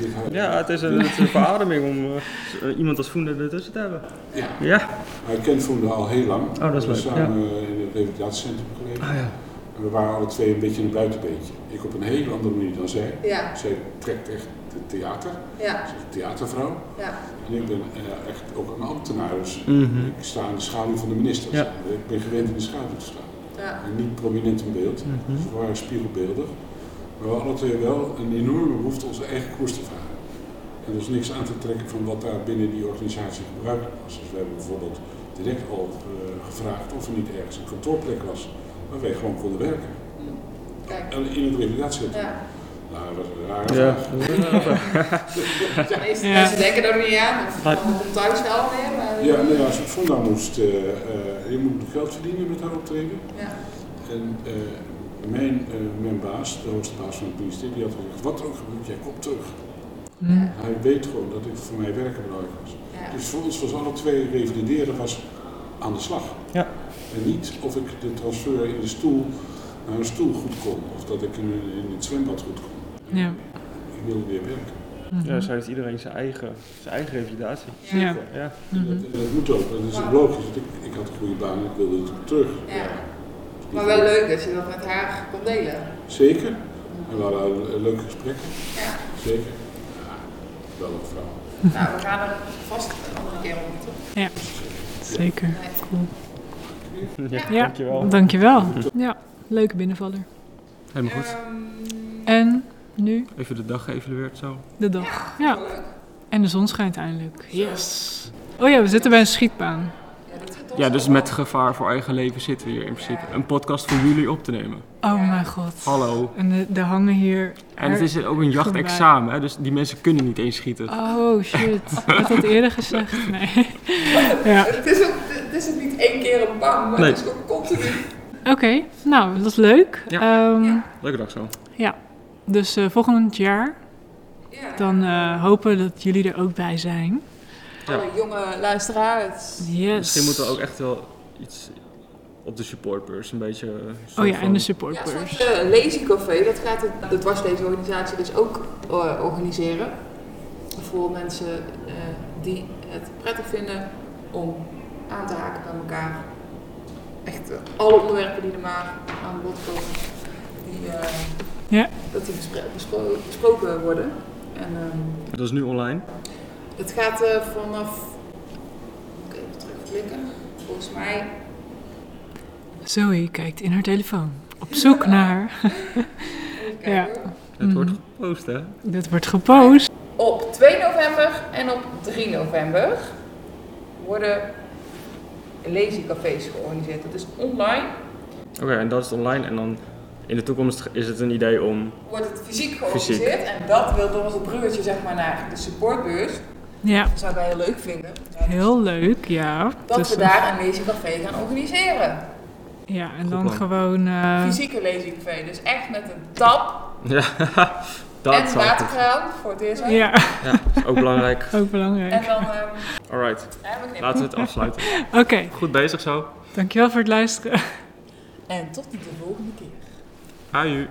[SPEAKER 6] Dit huis.
[SPEAKER 5] Ja, het is een, het is een verademing om eh, z- eh, iemand als Voender ertussen te hebben.
[SPEAKER 6] Ja.
[SPEAKER 5] Ja.
[SPEAKER 6] Maar ik ken Voende al heel lang.
[SPEAKER 5] Oh, dat is
[SPEAKER 6] we
[SPEAKER 5] leuk,
[SPEAKER 6] samen eh, in het revalidatiecentrum gelegen.
[SPEAKER 5] Ah ja.
[SPEAKER 6] En we waren alle twee een beetje een buitenbeentje. Ik op een hele andere manier dan zij.
[SPEAKER 3] Ja,
[SPEAKER 6] Zij trekt echt het theater.
[SPEAKER 3] ja,
[SPEAKER 6] Ze is een theatervrouw.
[SPEAKER 3] ja.
[SPEAKER 6] En ik ben eh, echt ook een ambtenaar. Dus
[SPEAKER 5] Mhm.
[SPEAKER 6] ik sta in de schaduw van de minister.
[SPEAKER 5] Ja.
[SPEAKER 6] Ik ben gewend in de schaduw te staan.
[SPEAKER 3] ja.
[SPEAKER 6] En niet prominent in beeld.
[SPEAKER 5] Mhm.
[SPEAKER 6] Ze waren spiegelbeeldig. Maar we hadden alle twee wel een enorme behoefte onze eigen koers te varen. En er is niks aan te trekken van wat daar binnen die organisatie gebruikt was. Dus we hebben bijvoorbeeld direct al eh, gevraagd of er niet ergens een kantoorplek was waar wij gewoon konden werken.
[SPEAKER 3] Kijk,
[SPEAKER 6] En in het revalidatiecentrum.
[SPEAKER 3] ja.
[SPEAKER 6] Nou, dat was een rare
[SPEAKER 5] Ja.
[SPEAKER 6] vraag.
[SPEAKER 3] De meeste
[SPEAKER 4] Ja.
[SPEAKER 3] mensen denken er niet aan, of
[SPEAKER 5] Maar-
[SPEAKER 3] dan komt thuis wel weer. Maar,
[SPEAKER 6] Ja, nou ja, als ik Fonda moest, eh, eh, je moet geld verdienen met haar optreden.
[SPEAKER 3] Ja.
[SPEAKER 6] En eh, mijn, eh, mijn baas, de hoogste baas van het ministerie, die had gezegd, wat er ook gebeurt, jij komt terug.
[SPEAKER 4] Hm.
[SPEAKER 6] Hij weet gewoon dat het voor mij werken belangrijk was.
[SPEAKER 3] Ja.
[SPEAKER 6] Dus voor ons was alle twee revalideren was aan de slag.
[SPEAKER 5] Ja.
[SPEAKER 6] En niet of ik de transfer in de stoel naar een stoel goed kon. Of dat ik in, in het zwembad goed kon.
[SPEAKER 4] Ja.
[SPEAKER 6] Ik wilde weer werken.
[SPEAKER 4] Mhm.
[SPEAKER 5] Ja, zo heeft iedereen zijn eigen, zijn eigen revalidatie.
[SPEAKER 4] Ja.
[SPEAKER 5] Ja.
[SPEAKER 4] Mhm.
[SPEAKER 6] Dat, dat moet ook. Dat is ook logisch. want Ik, ik had een goede baan en ik wilde het ook terug.
[SPEAKER 3] Ja.
[SPEAKER 6] Dus
[SPEAKER 3] Maar
[SPEAKER 6] die-
[SPEAKER 3] wel leuk dat je dat met haar kon delen.
[SPEAKER 6] Zeker. En we hadden een, een leuk gesprek.
[SPEAKER 3] Ja.
[SPEAKER 6] Zeker. Ja, wel een vrouw.
[SPEAKER 3] Nou, we gaan er vast een andere keer op terug.
[SPEAKER 4] Zeker.
[SPEAKER 3] Nee.
[SPEAKER 4] Cool.
[SPEAKER 5] Ja,
[SPEAKER 4] Ja.
[SPEAKER 5] dankjewel. Hm.
[SPEAKER 4] Dankjewel. Ja, leuke binnenvaller.
[SPEAKER 5] Helemaal goed.
[SPEAKER 3] Ehm,
[SPEAKER 4] En nu
[SPEAKER 5] Even de dag geëvalueerd zo.
[SPEAKER 4] de dag. Ja.
[SPEAKER 3] leuk.
[SPEAKER 4] En de zon schijnt eindelijk. Yes. Oh ja, we zitten bij een schietbaan.
[SPEAKER 3] Ja, dit gaat ons
[SPEAKER 5] Ja, dus
[SPEAKER 3] wel.
[SPEAKER 5] met gevaar voor eigen leven zitten we hier in principe. Een podcast voor jullie op te nemen.
[SPEAKER 4] Oh mijn god.
[SPEAKER 5] Hallo.
[SPEAKER 4] En de- er hangen hier...
[SPEAKER 5] En het is ook een jachtexamen, hè, dus die mensen kunnen niet eens schieten.
[SPEAKER 4] Oh shit.
[SPEAKER 5] [LAUGHS]
[SPEAKER 4] Ik had dat eerder gezegd. Nee. Ja.
[SPEAKER 3] Het is, ook, het is ook niet één keer een bang, maar
[SPEAKER 5] Nee.
[SPEAKER 3] het is ook continu.
[SPEAKER 4] Oké, nou, dat is leuk. Ehm,
[SPEAKER 3] Ja.
[SPEAKER 5] Leuke dag zo.
[SPEAKER 4] Dus eh, volgend jaar
[SPEAKER 3] Ja.
[SPEAKER 4] dan eh, hopen we dat jullie er ook bij zijn.
[SPEAKER 3] Alle jonge luisteraars.
[SPEAKER 4] Yes.
[SPEAKER 5] Misschien moeten we ook echt wel iets op de supportbeurs een beetje... eh,
[SPEAKER 4] Oh ja, en de
[SPEAKER 5] van-
[SPEAKER 3] Ja, een soort
[SPEAKER 4] supportbeurs.
[SPEAKER 3] eh, leescafé, dat gaat het, de dwarsleesorganisatie dus ook eh, organiseren. Voor mensen eh, die het prettig vinden om aan te haken bij elkaar. Echt eh, alle onderwerpen die er maar aan bod komen, die, eh,
[SPEAKER 4] Ja.
[SPEAKER 3] dat die bespro- bespro- besproken worden. En, ehm,
[SPEAKER 5] Dat is nu online.
[SPEAKER 3] het gaat eh, vanaf. Oké, even terugklikken. Volgens mij.
[SPEAKER 4] Zoe kijkt in haar telefoon. Op zoek naar...
[SPEAKER 3] Even
[SPEAKER 4] Ja.
[SPEAKER 3] kijken.
[SPEAKER 5] Het
[SPEAKER 4] Mhm.
[SPEAKER 5] wordt gepost, hè?
[SPEAKER 4] Dit wordt gepost.
[SPEAKER 3] Op 2 november en op 3 november worden lazycafés georganiseerd. Dat is online.
[SPEAKER 5] Oké, en dat is online. En dan in de toekomst is het een idee om... [LAUGHS]
[SPEAKER 3] Wordt het fysiek georganiseerd. En dat wil door ons het bruggetje zeg maar, naar de supportbeurs.
[SPEAKER 4] Ja,
[SPEAKER 3] Dat zou ik wel heel leuk vinden. Ja, dus
[SPEAKER 4] heel leuk. Ja.
[SPEAKER 3] Dat
[SPEAKER 4] Dus-
[SPEAKER 3] we daar een lazycafé gaan organiseren.
[SPEAKER 4] Ja, en
[SPEAKER 5] Goed
[SPEAKER 4] dan
[SPEAKER 5] plan.
[SPEAKER 4] gewoon. eh,
[SPEAKER 3] Fysieke lazycafé. Dus echt met een tap
[SPEAKER 5] Ja, dat
[SPEAKER 3] en
[SPEAKER 5] zou
[SPEAKER 3] waterkraan voor het eerst.
[SPEAKER 4] ja, [LAUGHS]
[SPEAKER 5] ik- Ook belangrijk.
[SPEAKER 4] ook
[SPEAKER 3] En
[SPEAKER 4] belangrijk.
[SPEAKER 3] dan ehm,
[SPEAKER 5] Alright,
[SPEAKER 3] ja, we knippen.
[SPEAKER 5] laten we het afsluiten.
[SPEAKER 4] Oké,
[SPEAKER 5] Goed bezig zo.
[SPEAKER 4] dankjewel voor het luisteren.
[SPEAKER 3] En tot de volgende keer.
[SPEAKER 5] Aju.